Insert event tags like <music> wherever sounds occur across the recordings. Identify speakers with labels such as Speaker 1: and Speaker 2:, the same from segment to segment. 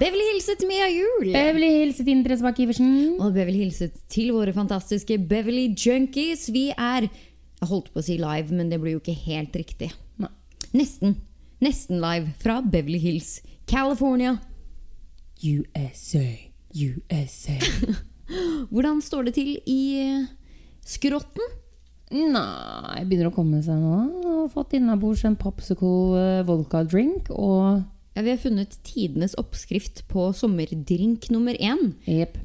Speaker 1: Beverly hilset Mia Jul.
Speaker 2: Beverly hilset Ine Therese Bach Iversen.
Speaker 1: Og Beverly hilset til våre fantastiske Beverly Junkies. Vi er Jeg holdt på å si live, men det blir jo ikke helt riktig.
Speaker 2: Nei.
Speaker 1: Nesten. Nesten live fra Beverly Hills, California.
Speaker 2: USA, USA.
Speaker 1: Hvordan står det til i eh, skrotten?
Speaker 2: Nei, begynner å komme seg nå. Har fått innabords en Popsicle eh, vodka drink og
Speaker 1: Ja, vi har funnet tidenes oppskrift på sommerdrink nummer én.
Speaker 2: Jepp.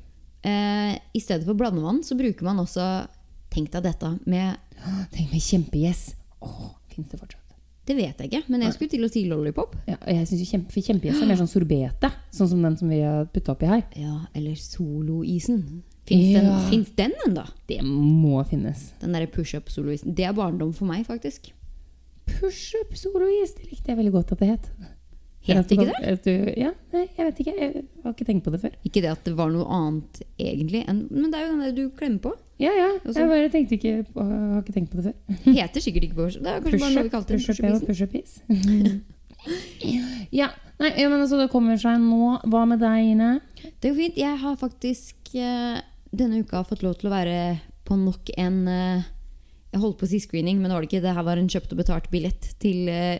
Speaker 1: Eh, I stedet for blandevann så bruker man også Tenk deg dette med
Speaker 2: Tenk meg kjempegjess. Åh, Fins det fortsatt?
Speaker 1: Det vet jeg ikke, men jeg skulle til å si lollipop.
Speaker 2: Ja, og jeg synes jo kjempe, Kjempegjess er mer sånn sorbete, sånn som den som vi har putta oppi her.
Speaker 1: Ja, eller soloisen. Fins den,
Speaker 2: Ja.
Speaker 1: finnes den ennå?
Speaker 2: Det må finnes.
Speaker 1: Den derre pushup-soloisen. Det er barndom for meg, faktisk.
Speaker 2: Pushup solois, det likte jeg veldig godt at det het.
Speaker 1: Het ikke det?
Speaker 2: At du- Ja, nei, jeg vet ikke. Jeg har ikke tenkt på det før.
Speaker 1: Ikke det at det var noe annet egentlig, enn, men det er jo den der du klemmer på.
Speaker 2: Ja, ja.
Speaker 1: Og så-
Speaker 2: Jeg bare tenkte ikke, på- har ikke tenkt på det før.
Speaker 1: Heter sikkert ikke pushup. Det er kanskje bare noe vi
Speaker 2: Pushup,
Speaker 1: kalte den
Speaker 2: pushup, ja,
Speaker 1: pushup-isen.
Speaker 2: pushup-is. <laughs> ja, nei, ja, men altså, det kommer seg nå. Hva med deg, Ine?
Speaker 1: Det går fint. Jeg har faktisk eh, denne uka fått lov til å være på nok en eh, Jeg holdt på å si screening, men det var det ikke. Det her var en kjøpt og betalt billett til eh,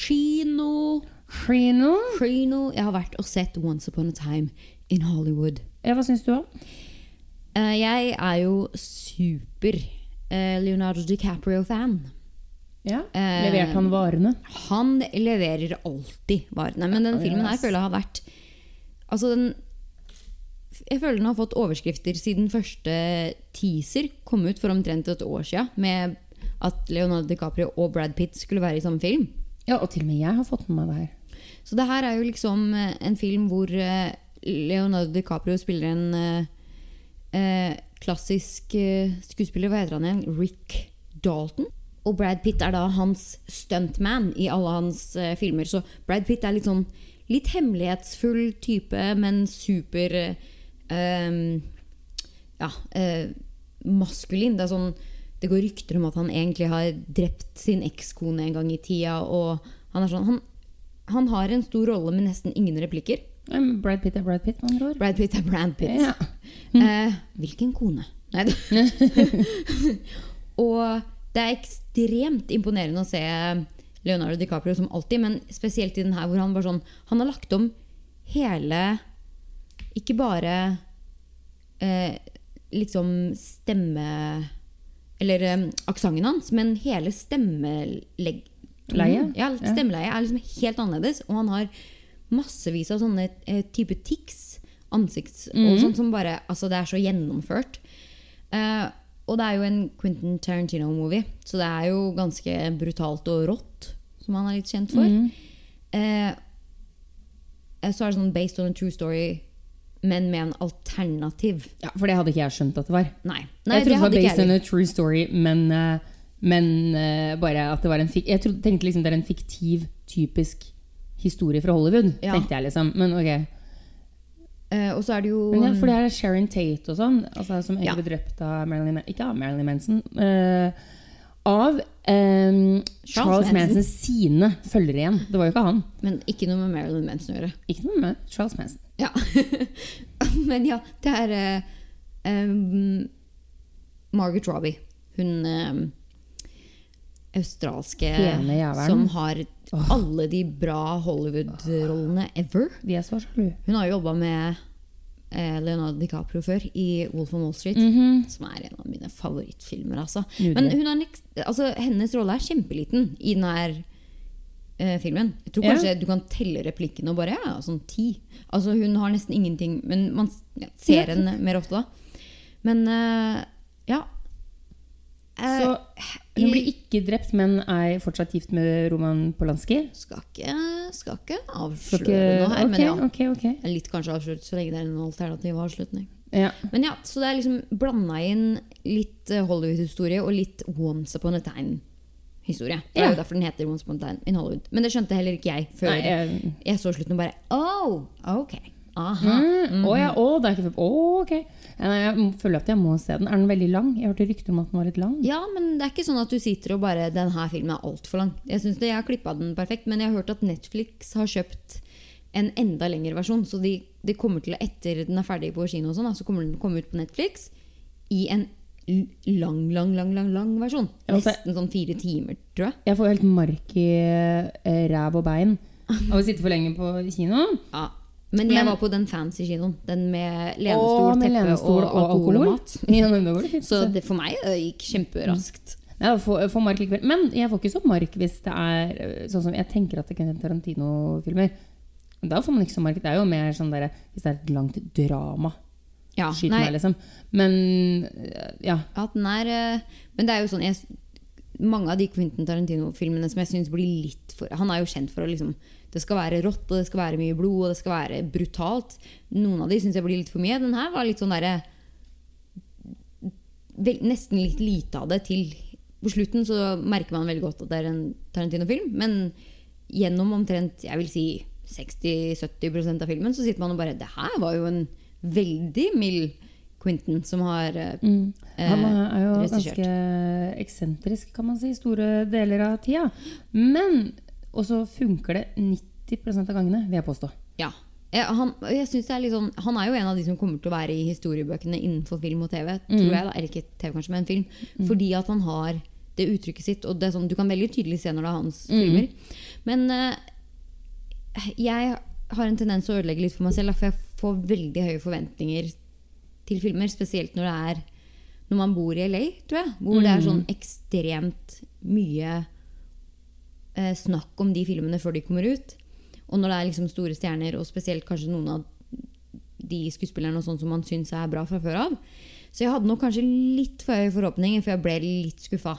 Speaker 1: Kino.
Speaker 2: Trino?
Speaker 1: Kino. Jeg har vært og sett Once Upon a Time in Hollywood.
Speaker 2: Ja, hva syns du om?
Speaker 1: Eh, jeg er jo super eh, Leonardo DiCaprio-fan.
Speaker 2: Ja,
Speaker 1: Eh,
Speaker 2: Leverte han varene?
Speaker 1: Han leverer alltid varene. Men den
Speaker 2: Ja,
Speaker 1: filmen her
Speaker 2: ass.
Speaker 1: føler jeg har vært Altså, den Jeg føler den har fått overskrifter siden første teaser kom ut for omtrent et år siden, med at Leonardo DiCaprio og Brad Pitt skulle være i samme film.
Speaker 2: Ja, og til og med jeg har fått med meg det her.
Speaker 1: Så det her er jo liksom eh, en film hvor eh, Leonardo DiCaprio spiller en eh, eh, klassisk eh, skuespiller. Hva heter han igjen? Rick Dalton. Og Brad Pitt er da hans stuntman i alle hans eh, filmer. Så Brad Pitt er litt sånn litt hemmelighetsfull type, men super eh, ehm, ja, eh, maskulin. Det er sånn det går rykter om at han egentlig har drept sin ekskone en gang i tida. Og han, er sånn, han, han har en stor rolle med nesten ingen replikker.
Speaker 2: Ja, men Brad Pitt er Brad Pitt, med andre ord.
Speaker 1: Brad Pitt er Brad Pitt.
Speaker 2: Ja.
Speaker 1: Eh, hvilken kone? Nei
Speaker 2: <laughs>
Speaker 1: da. og det er ekstremt imponerende å se Leonardo DiCaprio som alltid, men spesielt i den her hvor han bare sånn Han har lagt om hele Ikke bare eh, liksom stemme Eller eh, aksenten hans, men hele stemmelegg...
Speaker 2: Leie?
Speaker 1: Ja,
Speaker 2: Ja.
Speaker 1: stemmeleie er liksom helt annerledes. Og han har massevis av sånne eh, type tics, ansikts
Speaker 2: Mhm.
Speaker 1: og sånt, som bare Altså, det er så gjennomført. Eh, og det er jo en Quentin Tarantino-movie, så det er jo ganske brutalt og rått, som han er litt kjent for.
Speaker 2: Mhm. Mm.
Speaker 1: Eh, så er det sånn based on a true story, men med en alternativ.
Speaker 2: Ja, For det hadde ikke jeg skjønt at det var.
Speaker 1: Nei, Nei
Speaker 2: jeg trodde det var
Speaker 1: hadde ikke
Speaker 2: based
Speaker 1: jeg
Speaker 2: on a true story, men, eh, men eh, bare at det var en fik Jeg trodde, tenkte liksom det er en fiktiv, typisk historie fra Hollywood.
Speaker 1: Ja.
Speaker 2: Tenkte jeg liksom Men ok.
Speaker 1: Eh, og så er det jo
Speaker 2: Men ja, for det her er Sharon Tate og sånn, altså, som egentlig
Speaker 1: Ja.
Speaker 2: ble drept av Marilyn Man- Ikke av Marilyn Manson. eh, av eh, Charles
Speaker 1: Charles Manson.
Speaker 2: Manson sine følgere igjen. Det var jo ikke han.
Speaker 1: Men ikke noe med Marilyn Manson å gjøre.
Speaker 2: Ikke noe med Charles Manson.
Speaker 1: Ja. <laughs> Men ja, det er eh, em, Margaret Robbie. Hun em, australske
Speaker 2: Pene jævelen.
Speaker 1: som har alle de bra Hollywood-rollene ever.
Speaker 2: De er så sjalu.
Speaker 1: Hun har jobba med eh, Leonardo DiCaprio før i Wolf of Wall Street.
Speaker 2: Mm.
Speaker 1: Som er en av mine favorittfilmer. Altså.
Speaker 2: Mhm. Nydelig.
Speaker 1: Men hun er en ekst- altså, hennes rolle er kjempeliten i denne eh, filmen. Jeg tror kanskje du kan telle replikkene og bare ja, sånn ti. Altså, hun har nesten ingenting, men man s- ja, ser
Speaker 2: Ja.
Speaker 1: henne mer ofte da. Men eh, ja. Eh,
Speaker 2: Så hun
Speaker 1: i-
Speaker 2: blir ikke drept, men er fortsatt gift med Roman Polanski.
Speaker 1: skal ikke, skal ikke
Speaker 2: Skal
Speaker 1: avsløre
Speaker 2: ikke-
Speaker 1: noe her, men ja.
Speaker 2: ok, ok, ok.
Speaker 1: Litt kanskje avslørt så lenge det er en alternativ avslutning.
Speaker 2: Ja.
Speaker 1: Men ja, så det er liksom blanda inn litt eh, Hollywood-historie og litt Once upon a time-historie. Det er
Speaker 2: Ja.
Speaker 1: jo derfor den heter Once upon a time in Hollywood. Men det skjønte heller ikke jeg før
Speaker 2: Nei, eh, jeg-
Speaker 1: jeg så slutten og bare Oh, ok. Aha.
Speaker 2: Mm. Å ja, å, det er ikke for Å, ok. Ja, nei, Jeg føler at jeg må se den. Er den veldig lang? Jeg hørte rykter om at den var litt lang.
Speaker 1: Ja, men det er ikke sånn at du sitter og bare Den her filmen er altfor lang. Jeg synes det, jeg har klippa den perfekt, men jeg har hørt at Netflix har kjøpt en enda lengre versjon. Så de, det kommer til å- etter den er ferdig på kino, og sånn, da, så kommer den til å komme ut på Netflix i en l- lang, lang, lang lang, lang versjon.
Speaker 2: Ja, altså-
Speaker 1: Nesten sånn fire timer, tror jeg.
Speaker 2: Jeg får helt mark i eh, ræv og bein av å sitte for lenge på kino. <laughs>
Speaker 1: Ja. Men jeg
Speaker 2: Men-
Speaker 1: var på den fancy kinoen. Den med
Speaker 2: Og
Speaker 1: lenestol,
Speaker 2: med
Speaker 1: teppe
Speaker 2: lenestol
Speaker 1: og, alkohol og mat.
Speaker 2: Ja, men da går det fint.
Speaker 1: Så det, for meg det gikk kjemperaskt.
Speaker 2: Nei, jeg får, jeg får mark likevel. Men jeg får ikke så mark hvis det er øh, sånn som jeg tenker at det kan være Tarantino-filmer. Da får man ikke så mark. Det er jo mer sånn der, hvis det er et langt drama.
Speaker 1: Ja,
Speaker 2: Skyt
Speaker 1: nei,
Speaker 2: meg, liksom. Men øh, ja.
Speaker 1: at den er eh, Men det er jo sånn jeg, Mange av de Quentin Tarantino-filmene som jeg synes blir litt for Han er jo kjent for å liksom Det skal være rått, og det skal være mye blod, og det skal være brutalt. Noen av de syns jeg blir litt for mye. Den her var litt sånn derre vel- Nesten litt lite av det til På slutten så merker man veldig godt at det er en Tarantino-film, men gjennom omtrent jeg vil si 60-70 av filmen så sitter man og bare Det her var jo en veldig mild Quentin som har eh,
Speaker 2: Mm. Han er er jo
Speaker 1: regissert.
Speaker 2: ganske eksentrisk, kan man si, store deler av tida. Men også funker det 90 av gangene, vil jeg påstå.
Speaker 1: Ja. Eh, Han, og jeg synes det er litt sånn, han er jo en av de som kommer til å være i historiebøkene innenfor film og TV. Tror jeg da, Eller ikke TV, kanskje, men film. Fordi at han har det uttrykket sitt. Og det er sånn, du kan veldig tydelig se når det er hans filmer. Men eh, jeg har en tendens til å ødelegge litt for meg selv. da, For jeg får veldig høye forventninger til filmer. Spesielt når det er når man bor i LA, tror jeg. Hvor det er sånn ekstremt mye eh, snakk om de filmene før de kommer ut. Og når det er liksom store stjerner, og spesielt kanskje noen av de skuespillerne og sånn som man syns er bra fra før av. Så jeg hadde nok kanskje litt for høye forhåpninger, for jeg ble litt skuffa.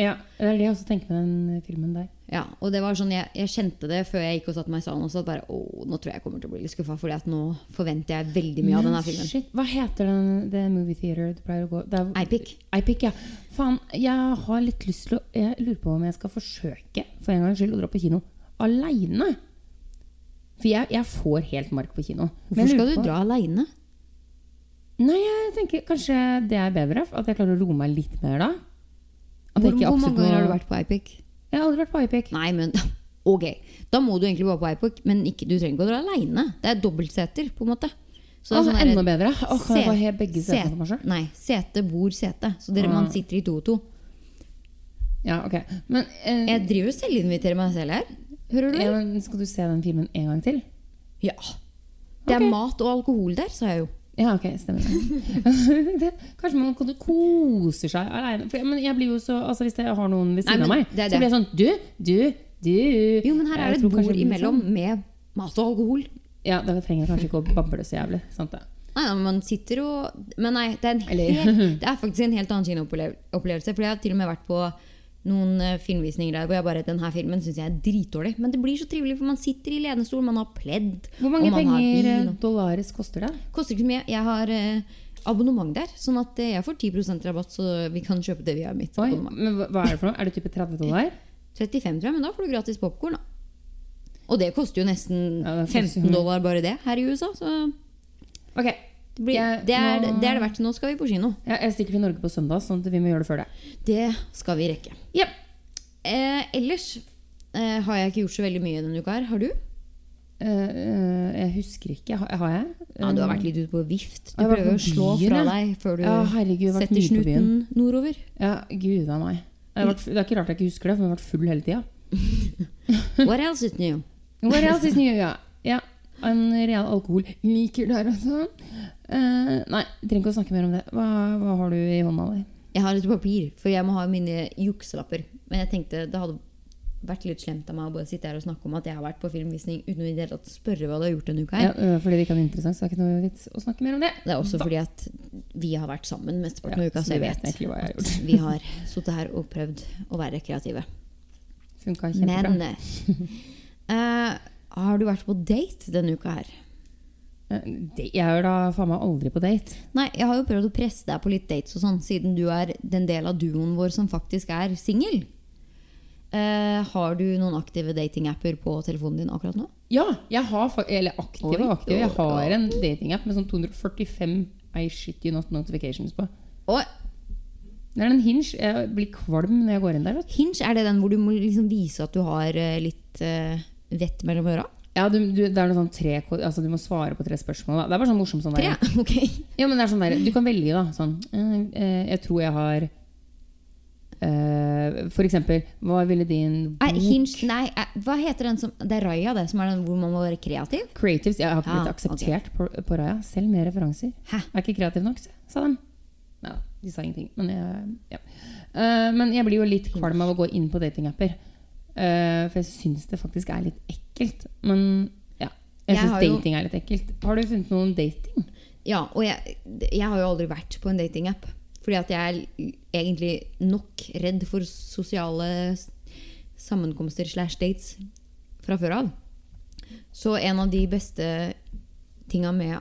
Speaker 2: Ja, Det er det jeg også tenker med den filmen der.
Speaker 1: Ja, og det var sånn, jeg, jeg kjente det før jeg gikk og satte meg i salen også, at bare, åh, nå tror jeg jeg kommer til å bli litt skuffa, fordi at nå forventer jeg veldig mye av denne
Speaker 2: Men
Speaker 1: filmen.
Speaker 2: Shit, hva heter den det movie theater du pleier å gå det er-
Speaker 1: Eipic.
Speaker 2: Eipic, ja. Faen, jeg har litt lyst til å Jeg lurer på om jeg skal forsøke for en gangs skyld å dra på kino aleine. For jeg, jeg får helt mark på kino. Men
Speaker 1: Hvorfor
Speaker 2: jeg
Speaker 1: skal
Speaker 2: lurer
Speaker 1: du
Speaker 2: på-
Speaker 1: dra aleine?
Speaker 2: Nei, jeg tenker kanskje det er bedre. At jeg klarer å roe meg litt mer da. At
Speaker 1: Hvor,
Speaker 2: jeg ikke
Speaker 1: hvor mange
Speaker 2: absolutt må-
Speaker 1: ganger har du vært på Eipic?
Speaker 2: Jeg har aldri vært på Eipic.
Speaker 1: Nei, men <laughs> ok. Da må du egentlig bare på Eipic, men ikke, du trenger ikke å dra aleine. Det er dobbeltseter, på en måte. Så det
Speaker 2: Åh,
Speaker 1: er sånn der-
Speaker 2: enda bedre. Åh, kan jeg få he- begge
Speaker 1: set-
Speaker 2: setene for meg selv?
Speaker 1: Nei, sete bor sete. Så dere,
Speaker 2: Ah.
Speaker 1: man sitter i to og to.
Speaker 2: Ja, ok. Men, eh,
Speaker 1: Jeg driver og selvinviterer meg selv her. Hører
Speaker 2: ja,
Speaker 1: du?
Speaker 2: men skal du se den filmen en gang til?
Speaker 1: Ja. Det er
Speaker 2: Ok.
Speaker 1: mat og alkohol der, sa jeg jo.
Speaker 2: Ja, ok, stemmer det. <laughs> det. Kanskje man kan- koser seg aleine. For- Men jeg blir jo så, altså hvis jeg har noen ved
Speaker 1: Nei,
Speaker 2: siden av
Speaker 1: men
Speaker 2: meg,
Speaker 1: det er
Speaker 2: så blir
Speaker 1: det.
Speaker 2: jeg sånn Du, du, du.
Speaker 1: Jo, men her er
Speaker 2: Jeg
Speaker 1: det
Speaker 2: tror
Speaker 1: et
Speaker 2: kanskje
Speaker 1: bord
Speaker 2: jeg blir
Speaker 1: imellom
Speaker 2: sånn.
Speaker 1: med mat og alkohol.
Speaker 2: Ja, Da trenger jeg kanskje ikke å bable så jævlig. Sant det?
Speaker 1: Nei, nei, man sitter og Men nei, det er, en helt,
Speaker 2: Eller- <laughs>
Speaker 1: det er faktisk en helt annen kinoopplevelse. For jeg har til og med vært på noen eh, filmvisninger der hvor jeg bare denne filmen syns jeg er dritdårlig. Men det blir så trivelig, for man sitter i lenestol, man har pledd.
Speaker 2: Hvor mange
Speaker 1: og man har
Speaker 2: penger
Speaker 1: vin,
Speaker 2: eh, dollaris koster det?
Speaker 1: og- Koster ikke så mye. Jeg har eh, abonnement der, sånn at eh, jeg får 10 rabatt, så vi kan kjøpe det via mitt
Speaker 2: Oi,
Speaker 1: abonnement.
Speaker 2: men hva- hva er det for noe? Er det type
Speaker 1: <laughs>
Speaker 2: 30 dollar?
Speaker 1: 35, tror jeg, men da får du gratis popkorn. Og det koster jo nesten
Speaker 2: Ja, det koster jo
Speaker 1: 15
Speaker 2: mye.
Speaker 1: dollar bare det her i USA, så
Speaker 2: Ok,
Speaker 1: det, blir,
Speaker 2: Jeg
Speaker 1: det, er,
Speaker 2: må-
Speaker 1: det er det verdt. Nå skal vi på kino.
Speaker 2: ja, Jeg stikker til Norge på søndag, sånn at vi må gjøre det før det.
Speaker 1: Det skal vi rekke.
Speaker 2: Jep.
Speaker 1: Eh, ellers eh, har jeg ikke gjort så veldig mye denne uka her. Har du?
Speaker 2: Eh, eh, jeg husker ikke. Har, har jeg?
Speaker 1: Ja, du har vært litt ute på vift. Du
Speaker 2: Jeg har vært
Speaker 1: prøver å
Speaker 2: på
Speaker 1: slå
Speaker 2: byen,
Speaker 1: fra
Speaker 2: jeg.
Speaker 1: deg før du
Speaker 2: Eh, Ja, herregud, jeg har vært
Speaker 1: setter
Speaker 2: mye på
Speaker 1: snuten nordover.
Speaker 2: Ja, gud a meg. Jeg har vært, det er ikke rart jeg ikke husker det, for jeg har vært full hele tida.
Speaker 1: <laughs> What else is new?
Speaker 2: What else is new? Ja. ja. En real alkohol liker der også. Eh, nei, trenger ikke å snakke mer om det. Hva, hva har du i hånda di?
Speaker 1: Jeg har et papir, for jeg må ha mine jukselapper. Men jeg tenkte det hadde vært litt slemt av meg å bare sitte her og snakke om at jeg har vært på filmvisning uten å i det hele tatt spørre hva du har gjort denne uka.
Speaker 2: Ja,
Speaker 1: her.
Speaker 2: øh, fordi det ikke er interessant, så det er ikke noe vits å snakke mer om det.
Speaker 1: Det er også fordi at vi har vært sammen mesteparten av
Speaker 2: Ja,
Speaker 1: uka,
Speaker 2: så
Speaker 1: så jeg
Speaker 2: du vet
Speaker 1: vet
Speaker 2: egentlig hva jeg har gjort.
Speaker 1: at vi har sittet her og prøvd å være kreative.
Speaker 2: Funka kjempebra.
Speaker 1: Men eh, har du vært på date denne uka her?
Speaker 2: Eh, det- jeg er da faen meg aldri på date.
Speaker 1: Nei, jeg har jo prøvd å presse deg på litt dates og sånn, siden du er den del av duoen vår som faktisk er singel. Eh, har du noen aktive datingapper på telefonen din akkurat nå?
Speaker 2: Ja, jeg har fa- Eller aktiv
Speaker 1: Oi,
Speaker 2: og aktiv. Jeg har
Speaker 1: dårlig.
Speaker 2: en datingapp med sånn 245 I shit you not notifications på.
Speaker 1: Og
Speaker 2: Det er en hinge. Jeg blir kvalm når jeg går inn der. vet du.
Speaker 1: Hinge, er det den hvor du må liksom vise at du har eh, litt eh, vett mellom øra?
Speaker 2: Ja, du, du, det er noe sånn tre, ko- altså, du må svare på tre spørsmål. Da. Det er bare sånn morsomt sånn
Speaker 1: Tre? <laughs>
Speaker 2: der.
Speaker 1: Ok.
Speaker 2: Ja, men det er sånn der, du kan velge, da. Sånn, eh, eh, jeg tror jeg har eh, For eksempel, hva ville din
Speaker 1: Nei, Hinge Nei, eh, hva heter den som Det er Raya, det, som er den hvor man må være kreativ?
Speaker 2: Creatives Jeg har ikke blitt
Speaker 1: Ja,
Speaker 2: akseptert på, på Raya, selv med referanser.
Speaker 1: Hæ?
Speaker 2: Jeg er ikke kreativ nok, sa de. Nei, de sa ingenting. Men jeg, ja. Eh, men jeg blir jo litt kvalm av å gå inn på datingapper. Eh, for jeg syns det faktisk er litt ekkelt. Men ja,
Speaker 1: Jeg
Speaker 2: jeg, synes syns
Speaker 1: har jo-
Speaker 2: dating er litt ekkelt. Har du funnet noe om dating?
Speaker 1: Ja, og jeg, jeg har jo aldri vært på en datingapp. Fordi at jeg er egentlig nok redd for sosiale s- sammenkomster slash dates fra før av. Så en av de beste tinga med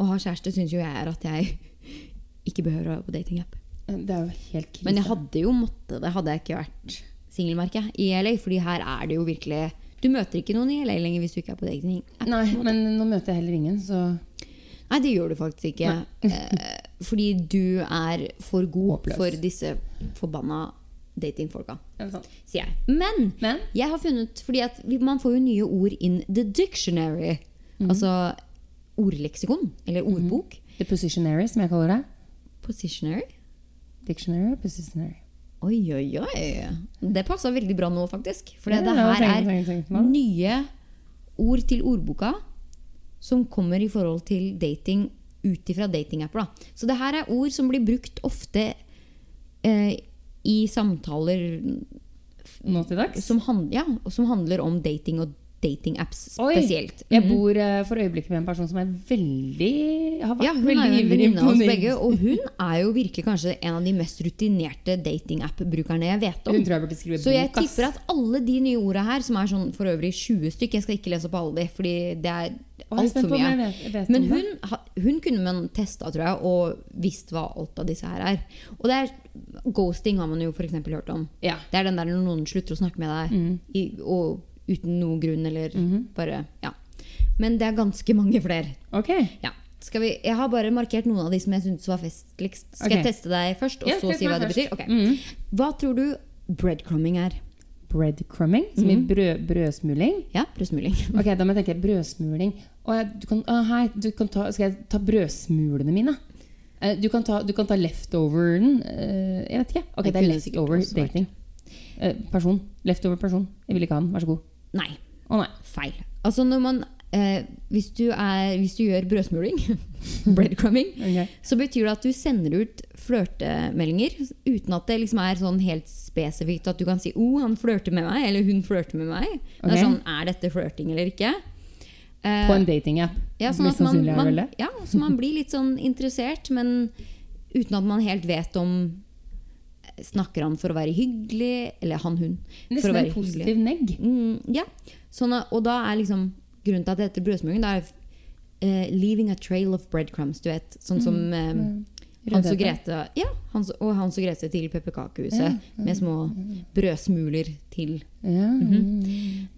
Speaker 1: å ha kjæreste syns jo jeg er at jeg <laughs> ikke behøver å være på datingapp.
Speaker 2: Eh, Det er jo helt krise.
Speaker 1: Men jeg hadde jo måttet det, hadde jeg ikke vært singel, merker jeg, i LA. Fordi her er det jo virkelig Du møter ikke noen i LA lenger hvis du ikke er på dating.
Speaker 2: Nei, men nå møter jeg heller ingen, så
Speaker 1: Nei, det gjør du faktisk ikke. <laughs> Eh, Fordi du er for god
Speaker 2: Håpløs.
Speaker 1: for disse forbanna datingfolka,
Speaker 2: Er det sant?
Speaker 1: sier jeg. Men
Speaker 2: Men
Speaker 1: jeg har funnet Fordi at vi- man får jo nye ord in the dictionary.
Speaker 2: Mhm.
Speaker 1: Altså ordleksikon, eller ordbok.
Speaker 2: the positionary, som jeg kaller det.
Speaker 1: Positionary.
Speaker 2: Dictionary og positionary.
Speaker 1: Oi, oi, oi. Det passa veldig bra nå, faktisk. For
Speaker 2: Ja,
Speaker 1: det,
Speaker 2: det var
Speaker 1: her
Speaker 2: tenkt-
Speaker 1: er
Speaker 2: tenkt- tenkt på.
Speaker 1: nye ord til ordboka som kommer i forhold til dating ut ifra datingapper. da. Så det her er ord som blir brukt ofte eh, i samtaler
Speaker 2: Nå til dags.
Speaker 1: som, hand, ja, og som handler om dating og datingapps
Speaker 2: Oi,
Speaker 1: spesielt.
Speaker 2: Jeg bor eh, for øyeblikket med en person som er veldig har vært
Speaker 1: Ja, hun
Speaker 2: veldig
Speaker 1: er jo en
Speaker 2: ivrig
Speaker 1: venninne av oss
Speaker 2: på ny-
Speaker 1: begge, og hun er jo virkelig kanskje en av de mest rutinerte datingapp-brukerne jeg vet om.
Speaker 2: Hun tror jeg burde skrive
Speaker 1: Så jeg
Speaker 2: bok, ass.
Speaker 1: tipper at alle de nye ordene her, som er sånn for øvrig 20 stykk Jeg skal ikke lese opp alle de, fordi det er
Speaker 2: jeg er spent
Speaker 1: altfor
Speaker 2: på om
Speaker 1: mye.
Speaker 2: jeg vet- vet
Speaker 1: Men
Speaker 2: om
Speaker 1: hun, ha- hun kunne man testa, tror jeg, og visst hva alt av disse her er. Og det er, ghosting har man jo f.eks. hørt om.
Speaker 2: Ja.
Speaker 1: Det er den der når noen slutter å snakke med deg
Speaker 2: Mm.
Speaker 1: i, og uten noen grunn, eller
Speaker 2: Mm-hmm.
Speaker 1: bare Ja. Men det er ganske mange flere.
Speaker 2: Ok.
Speaker 1: Ja. Skal vi, jeg har bare markert noen av de som jeg syntes var festligst. Skal
Speaker 2: Ok.
Speaker 1: jeg teste deg først, og
Speaker 2: Ja,
Speaker 1: så
Speaker 2: test
Speaker 1: si hva det
Speaker 2: meg først.
Speaker 1: betyr? Ok. Hva tror du breadcrumbing er?
Speaker 2: Breadcrumbing, som
Speaker 1: Mhm.
Speaker 2: i brød, brødsmuling.
Speaker 1: Ja, brødsmuling. <laughs>
Speaker 2: Ok, da må jeg tenke brødsmuling. Å, jeg, du kan, å, hei, du kan ta, skal jeg ta brødsmulene mine? Eh, Du kan ta, du kan ta leftoveren eh, Jeg vet ikke. Ok,
Speaker 1: Det
Speaker 2: det er
Speaker 1: kunne sikkert
Speaker 2: leftover
Speaker 1: også vært.
Speaker 2: dating. Eh, person. Leftover person. Jeg vil ikke ha den. Vær så god.
Speaker 1: Nei,
Speaker 2: Å nei.
Speaker 1: feil. Altså når man eh, hvis, du er, hvis du gjør brødsmuling, <laughs> breadcrumbing,
Speaker 2: Ok.
Speaker 1: så betyr det at du sender ut flørtemeldinger uten at det liksom er sånn helt spesifikt at du kan si 'Å, oh, han flørter med meg', eller 'hun flørter med meg'. Det
Speaker 2: Ok.
Speaker 1: er sånn, Er dette flørting eller ikke? Eh,
Speaker 2: På en datingapp.
Speaker 1: ja, sånn at
Speaker 2: Mest
Speaker 1: man,
Speaker 2: sannsynlig er det vel
Speaker 1: man,
Speaker 2: det.
Speaker 1: ja, så man blir litt sånn interessert, men uten at man helt vet om Snakker han for å være hyggelig, eller han, hun? for å
Speaker 2: Nesten
Speaker 1: være
Speaker 2: en positiv negg.
Speaker 1: Mm, ja. Sånn, at- og da er liksom grunnen til at det heter brødsmuling, det er eh, 'leaving a trail of breadcrumbs'. Du vet, sånn som
Speaker 2: Mm.
Speaker 1: eh, Hans og Grete ja, Hans, og Hans og Grete til pepperkakehuset med små brødsmuler til.
Speaker 2: Ja.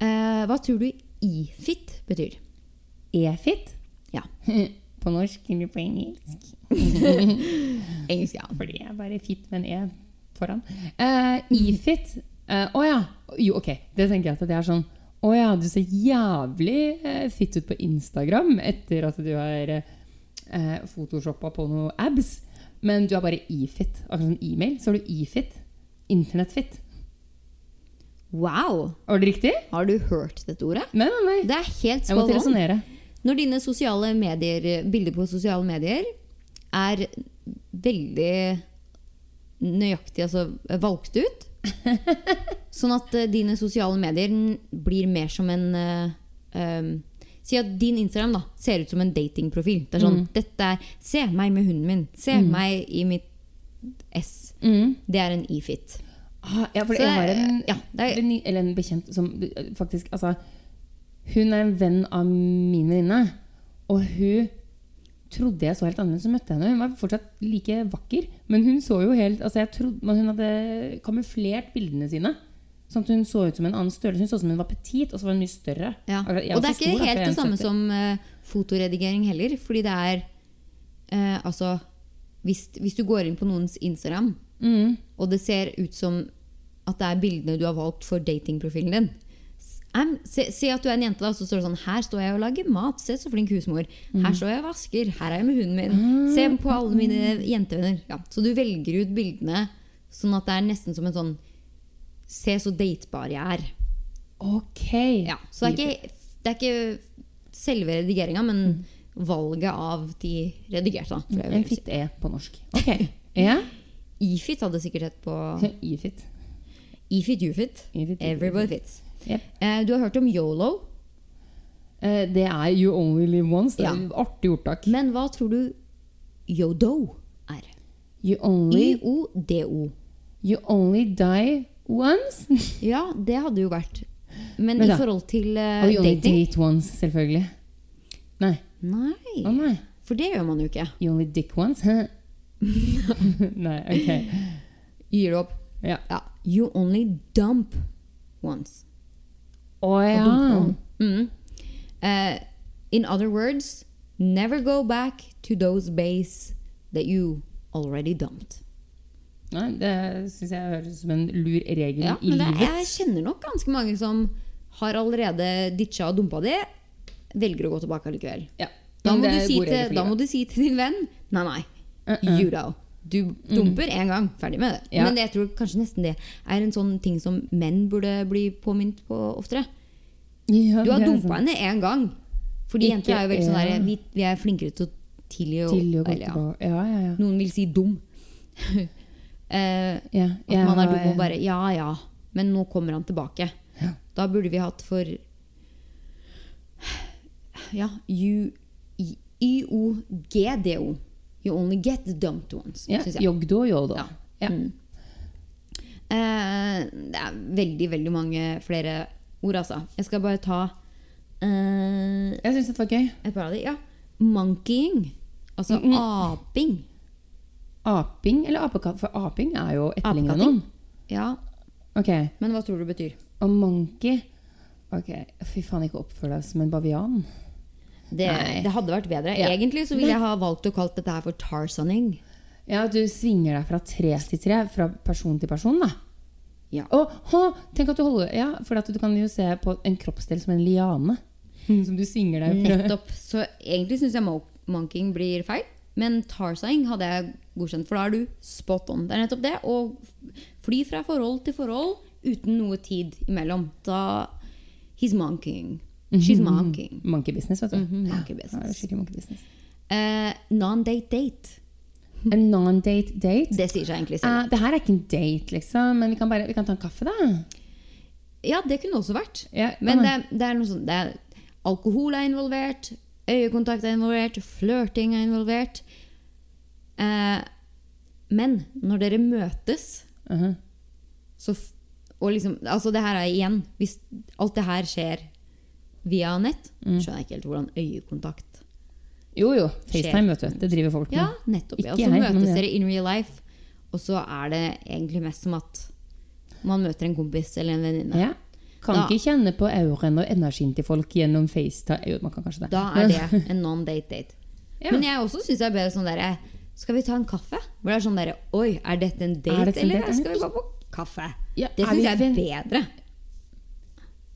Speaker 1: Eh, hva tror du ifit betyr?
Speaker 2: E-fit?
Speaker 1: Ja.
Speaker 2: <laughs> På norsk eller på engelsk?
Speaker 1: Engelsk, ja.
Speaker 2: Fordi jeg er bare fit med en E foran. Eh, E-fit? Eh, Å ja. Jo, ok. Det tenker jeg at det er sånn Å ja, du ser jævlig eh, fit ut på Instagram etter at du har eh, eh, photoshoppa på noe abs, men du er bare E-fit. Akkurat som e-mail, så er du E-fit. Internettfit.
Speaker 1: Wow!
Speaker 2: Var det riktig?
Speaker 1: Har du hørt dette ordet?
Speaker 2: Nei, nei, nei.
Speaker 1: Det er helt
Speaker 2: Jeg
Speaker 1: spot
Speaker 2: måtte
Speaker 1: on.
Speaker 2: resonnere.
Speaker 1: Når dine sosiale medier, bilder på sosiale medier er veldig nøyaktig altså, valgt
Speaker 2: <laughs>
Speaker 1: ut, sånn at eh, dine sosiale medier n- blir mer som en eh, em, Si at din Instagram da, ser ut som en datingprofil. Det er sånn,
Speaker 2: Mm.
Speaker 1: dette er, Se meg med hunden min. Se meg i mitt S.
Speaker 2: Mm.
Speaker 1: Det er en e-fit.
Speaker 2: Ah, ja, for
Speaker 1: Så
Speaker 2: jeg har
Speaker 1: det-
Speaker 2: en,
Speaker 1: ja, det er-
Speaker 2: venni- eller en bekjent som faktisk altså, Hun er en venn av min venninne. Og hun trodde jeg så helt annerledes, så møtte jeg henne. Hun var fortsatt like vakker, men hun så jo helt altså, jeg trodde, men Hun hadde kamuflert bildene sine. Sånn at hun så ut som en annen størrelse. Hun så ut som hun var petit, og så var hun mye større.
Speaker 1: Ja.
Speaker 2: Akkurat- Altså, jeg
Speaker 1: Og det
Speaker 2: var
Speaker 1: er ikke
Speaker 2: så stor, da, for
Speaker 1: helt
Speaker 2: jeg er
Speaker 1: det samme
Speaker 2: 1,70.
Speaker 1: som eh, fotoredigering heller, fordi det er eh, Altså, hvis, hvis du går inn på noens Instagram,
Speaker 2: mm.
Speaker 1: og det ser ut som at det er bildene du har valgt for datingprofilen din, s- Em, se, se at du er en jente, da, så står det sånn Her står jeg og lager mat. Se så flink husmor.
Speaker 2: Mm.
Speaker 1: Her står jeg og vasker. Her er jeg med hunden min. Se på alle mine jentevenner. Ja, så du velger ut bildene sånn at det er nesten som en sånn Se så datebar jeg er.
Speaker 2: Ok.
Speaker 1: Ja, så det er ikke, det er ikke selve redigeringa, men valget av de redigerte. da, tror jeg
Speaker 2: Mm. En
Speaker 1: vil si.
Speaker 2: fitt E på norsk. Ok.
Speaker 1: <laughs>
Speaker 2: Ja.
Speaker 1: Ifit hadde sikkert hett på
Speaker 2: I-fitt.
Speaker 1: Ifit, Ufit.
Speaker 2: Ifit, Ufit.
Speaker 1: Everybody fits.
Speaker 2: Jep.
Speaker 1: Eh, Du har hørt om yolo,
Speaker 2: Eh, Det er You Only Live Once. Det er
Speaker 1: Ja.
Speaker 2: et Artig ordtak.
Speaker 1: men hva tror du yodo er?
Speaker 2: You only,
Speaker 1: Y-o-d-o.
Speaker 2: you only die once.
Speaker 1: <laughs> Ja, det hadde jo vært. Men,
Speaker 2: Men
Speaker 1: i
Speaker 2: da-
Speaker 1: forhold til eh,
Speaker 2: Og you only
Speaker 1: dating
Speaker 2: date once, selvfølgelig. Nei.
Speaker 1: Nei,
Speaker 2: Å nei.
Speaker 1: for det gjør man jo ikke.
Speaker 2: You only dick once. <laughs> nei, ok.
Speaker 1: Gir du opp?
Speaker 2: Ja.
Speaker 1: Ja. You only dump once.
Speaker 2: Å ja.
Speaker 1: Mm. Eh, in other words, never go back to those bays that you already dumped.
Speaker 2: Nei, det syns jeg høres ut som en lur regel
Speaker 1: Ja,
Speaker 2: i
Speaker 1: men det,
Speaker 2: livet.
Speaker 1: jeg kjenner nok ganske mange som har allerede ditcha og dumpa det, velger å gå tilbake allikevel.
Speaker 2: Ja.
Speaker 1: Da
Speaker 2: Men
Speaker 1: må,
Speaker 2: det
Speaker 1: du
Speaker 2: er
Speaker 1: si
Speaker 2: god regel
Speaker 1: til,
Speaker 2: for
Speaker 1: da må
Speaker 2: livet.
Speaker 1: du si til din venn Nei, nei,
Speaker 2: Uh-uh.
Speaker 1: judo. Du dumper én gang, ferdig med det.
Speaker 2: Mm. Ja.
Speaker 1: Men jeg tror kanskje nesten det er en sånn ting som menn burde bli påminnet på oftere.
Speaker 2: Ja,
Speaker 1: Du har
Speaker 2: det er
Speaker 1: dumpa
Speaker 2: sant.
Speaker 1: henne én gang. Fordi
Speaker 2: Ikke
Speaker 1: jenter er jo veldig sånn
Speaker 2: én.
Speaker 1: der, vi, vi er flinkere til å tilgi og,
Speaker 2: Til å gå
Speaker 1: eller, ja.
Speaker 2: tilbake. Ja, ja, ja.
Speaker 1: Noen vil si dum. <laughs> Eh,
Speaker 2: ja
Speaker 1: at man er dum og bare Ja ja, men nå kommer han tilbake.
Speaker 2: Ja.
Speaker 1: Da burde vi hatt for Ja, you- i- Y-O-G-D-O. You only get dumped once,
Speaker 2: ja.
Speaker 1: syns jeg.
Speaker 2: Jogdo og jodo.
Speaker 1: Ja.
Speaker 2: Ja.
Speaker 1: Eh, det er veldig, veldig mange flere ord, altså. Jeg skal bare ta eh,
Speaker 2: Jeg syns det var gøy.
Speaker 1: et par av de. Ja. Monkeying. Altså
Speaker 2: Mm, mm.
Speaker 1: aping.
Speaker 2: Aping eller apekatt? For aping er jo etterlignet
Speaker 1: Apekatting.
Speaker 2: noen.
Speaker 1: Ja,
Speaker 2: Ok,
Speaker 1: men hva tror du det betyr?
Speaker 2: Og monkey Ok, Fy faen, ikke oppfør deg som en bavian.
Speaker 1: Det,
Speaker 2: Nei.
Speaker 1: det hadde vært bedre.
Speaker 2: Ja.
Speaker 1: Egentlig
Speaker 2: <laughs>
Speaker 1: så ville jeg ha valgt å kalt dette her for tarsaning.
Speaker 2: Ja, Du svinger deg fra tre til tre, fra person til person. da.
Speaker 1: Ja.
Speaker 2: Og, hå, tenk at du holder, ja, For at du kan jo se på en kroppsdel som en liane.
Speaker 1: Hmm.
Speaker 2: Som du svinger deg fra.
Speaker 1: Nettopp. Så egentlig syns jeg mo- monking blir feil, men tarsaing hadde jeg godkjent, for da er du spot on. Det er nettopp det. Å fly fra forhold til forhold uten noe tid imellom. Da He's monking. She's
Speaker 2: <laughs>
Speaker 1: monking.
Speaker 2: Monkey business, vet du.
Speaker 1: Mhm, monkey
Speaker 2: Mm-hmm. Ja, det er
Speaker 1: business.
Speaker 2: skikkelig monkey business.
Speaker 1: Eh, Non-date date. Hmm.
Speaker 2: A non-date date.
Speaker 1: Det sier seg egentlig selv.
Speaker 2: Eh, det her er ikke en date, liksom, men vi kan, bare, vi kan ta en kaffe, da.
Speaker 1: Ja, det kunne også vært.
Speaker 2: Ja,
Speaker 1: Men
Speaker 2: kan
Speaker 1: det, er- det er noe sånn det er, Alkohol er involvert, øyekontakt er involvert, flørting er involvert. Eh, men når dere møtes,
Speaker 2: Aha.
Speaker 1: så f- og liksom, altså det her er igjen Hvis alt det her skjer via nett,
Speaker 2: Mm.
Speaker 1: skjønner jeg ikke helt hvordan øyekontakt
Speaker 2: Jo, jo. FaceTime, vet du. Det driver folk med.
Speaker 1: Ja, nettopp. Ja.
Speaker 2: Ikke
Speaker 1: Så
Speaker 2: jeg,
Speaker 1: møtes
Speaker 2: men-
Speaker 1: dere in real life, og så er det egentlig mest som at man møter en kompis eller en venninne.
Speaker 2: Ja. Kan
Speaker 1: Da-
Speaker 2: ikke kjenne på auraen og energien til folk gjennom FaceTime. Jo, man kan kanskje det.
Speaker 1: Da er det en non-date-date.
Speaker 2: Ja.
Speaker 1: Men jeg også syns det er bedre sånn derre Skal vi ta en kaffe? Hvor det er sånn derre Oi, er dette en date,
Speaker 2: Er dette en
Speaker 1: eller
Speaker 2: date?
Speaker 1: skal vi bare på kaffe?
Speaker 2: Ja,
Speaker 1: det
Speaker 2: er
Speaker 1: syns
Speaker 2: vi
Speaker 1: jeg er
Speaker 2: ven-
Speaker 1: bedre.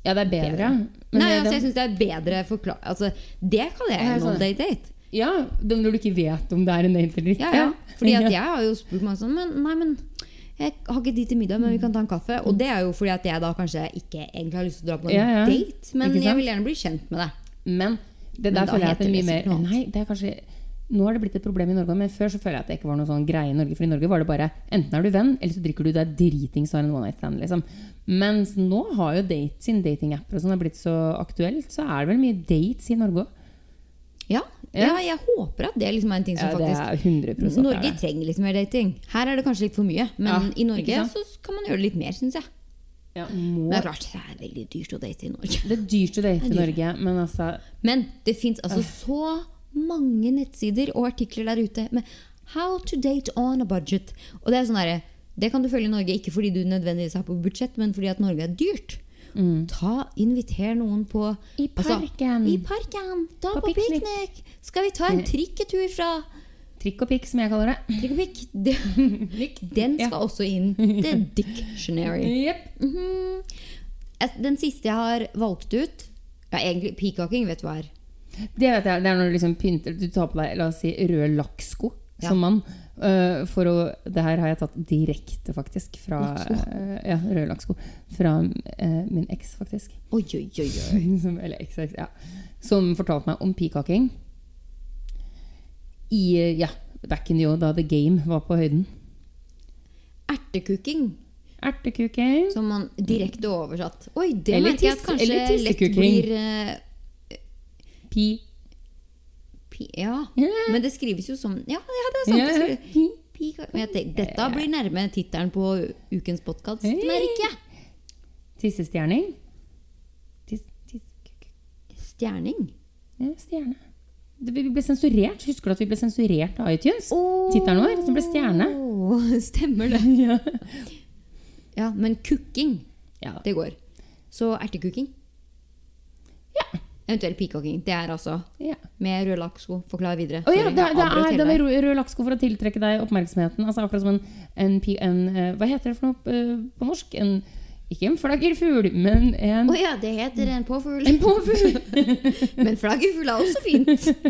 Speaker 2: Ja, det er bedre. Men
Speaker 1: Nei,
Speaker 2: det-
Speaker 1: altså,
Speaker 2: det-
Speaker 1: jeg syns det er bedre forklar... Altså, det kaller jeg
Speaker 2: Ja,
Speaker 1: en
Speaker 2: sånn.
Speaker 1: non-date-date.
Speaker 2: ja, det- når du ikke vet om det er en date eller ikke.
Speaker 1: Ja,
Speaker 2: <laughs>
Speaker 1: ja. Fordi at
Speaker 2: Ja.
Speaker 1: jeg har jo spurt mange sånn men, Nei, men jeg har ikke tid til middag, men vi kan ta en kaffe. Og det er jo fordi at jeg da kanskje ikke egentlig har lyst til å dra på en
Speaker 2: Ja, ja.
Speaker 1: date, men
Speaker 2: Ikke sant?
Speaker 1: jeg vil gjerne bli kjent med deg.
Speaker 2: Men det
Speaker 1: Men
Speaker 2: der
Speaker 1: da
Speaker 2: føler jeg at det er
Speaker 1: heter det
Speaker 2: mye
Speaker 1: sikkert
Speaker 2: mer
Speaker 1: noe annet.
Speaker 2: Nei, det er kanskje nå har det blitt et problem i Norge, men før så føler jeg at det ikke var noe sånn greie i Norge. For i Norge var det bare enten er du venn, eller så drikker du deg dritings og har en one night stand. liksom. Mens nå har jo date, siden datingapper og sånn har blitt så aktuelt, så er det vel mye dates i Norge òg.
Speaker 1: Ja, ja. jeg håper at det liksom er en ting som
Speaker 2: Ja, det
Speaker 1: faktisk
Speaker 2: er 100 er
Speaker 1: Norge
Speaker 2: det.
Speaker 1: trenger litt mer dating. Her er det kanskje litt for mye, men
Speaker 2: Ja,
Speaker 1: i Norge
Speaker 2: ikke
Speaker 1: så kan man gjøre det litt mer, syns jeg.
Speaker 2: Ja,
Speaker 1: Men
Speaker 2: må
Speaker 1: det er klart, det er veldig dyrt å date i Norge. <laughs>
Speaker 2: Det er dyrt å date i Norge, men altså
Speaker 1: Men det fins altså så mange nettsider og artikler der ute med 'How to date on a budget'. Og Det er sånn derre, det kan du følge i Norge, ikke fordi du nødvendigvis er på budsjett, men fordi at Norge er dyrt. Ta, Inviter noen på
Speaker 2: Mm. altså,
Speaker 1: altså,
Speaker 2: I parken.
Speaker 1: I parken! Ta
Speaker 2: På
Speaker 1: på,
Speaker 2: piknik.
Speaker 1: piknik! Skal vi ta en trikketur fra
Speaker 2: Trikk og pikk, som jeg kaller det.
Speaker 1: Trykk og pikk.
Speaker 2: <laughs>
Speaker 1: Det- Den skal også inn. The dictionary.
Speaker 2: Jepp.
Speaker 1: Mhm. jeg- Den siste jeg har valgt ut ja, egentlig Peacocking, vet du hva er.
Speaker 2: Det vet jeg, det er når du liksom pynter Du tar på deg la oss si, røde lakksko
Speaker 1: Ja.
Speaker 2: som mann. eh, for å, det her har jeg tatt direkte, faktisk. Fra, eh, ja, røde lakksko. Fra eh, min eks, faktisk.
Speaker 1: Oi, oi, oi, oi.
Speaker 2: <laughs> som, eller XX, ja. Som fortalte meg om peacocking. I eh, ja, back in the old, da The Game var på høyden.
Speaker 1: Ertekooking,
Speaker 2: Ertekuking.
Speaker 1: som man direkte oversatt. Oi, det
Speaker 2: Eller
Speaker 1: merker jeg at
Speaker 2: tiss- eller
Speaker 1: kanskje lett
Speaker 2: tissekooking.
Speaker 1: blir eh,
Speaker 2: Pi.
Speaker 1: pi- Ja.
Speaker 2: Ja.
Speaker 1: Men det skrives jo som Ja, ja det er sant. det
Speaker 2: Ja.
Speaker 1: skrives- Peacock- Men jeg tenker, dette blir nærme tittelen på ukens podkast,
Speaker 2: Hey.
Speaker 1: merker jeg.
Speaker 2: Tissestjerning. Tiss, tiss, kuk-
Speaker 1: Stjerning.
Speaker 2: ja, stjerne. Det, vi ble sensurert. Husker du at vi ble sensurert av iTunes?
Speaker 1: Oh.
Speaker 2: Tittelen vår, som ble stjerne.
Speaker 1: <laughs> Stemmer det.
Speaker 2: ja.
Speaker 1: Ja, men cooking,
Speaker 2: Ja.
Speaker 1: det går. Så ertekooking.
Speaker 2: Ja.
Speaker 1: Eventuelt peacocking. Det er altså
Speaker 2: ja.
Speaker 1: med rød lakksko. Forklar videre.
Speaker 2: Å ja,
Speaker 1: Sorry,
Speaker 2: det,
Speaker 1: jeg
Speaker 2: det
Speaker 1: avbrøt
Speaker 2: er,
Speaker 1: hele
Speaker 2: det er
Speaker 1: deg.
Speaker 2: rød lakksko for å tiltrekke deg oppmerksomheten. Altså akkurat som en, en, pi- en eh, Hva heter det for noe eh, på norsk? En, ikke en flaggerfugl, men en
Speaker 1: Å ja, det heter en påfugl.
Speaker 2: En påfugl!
Speaker 1: <laughs>
Speaker 2: <laughs>
Speaker 1: Men flaggerfugl er også fint.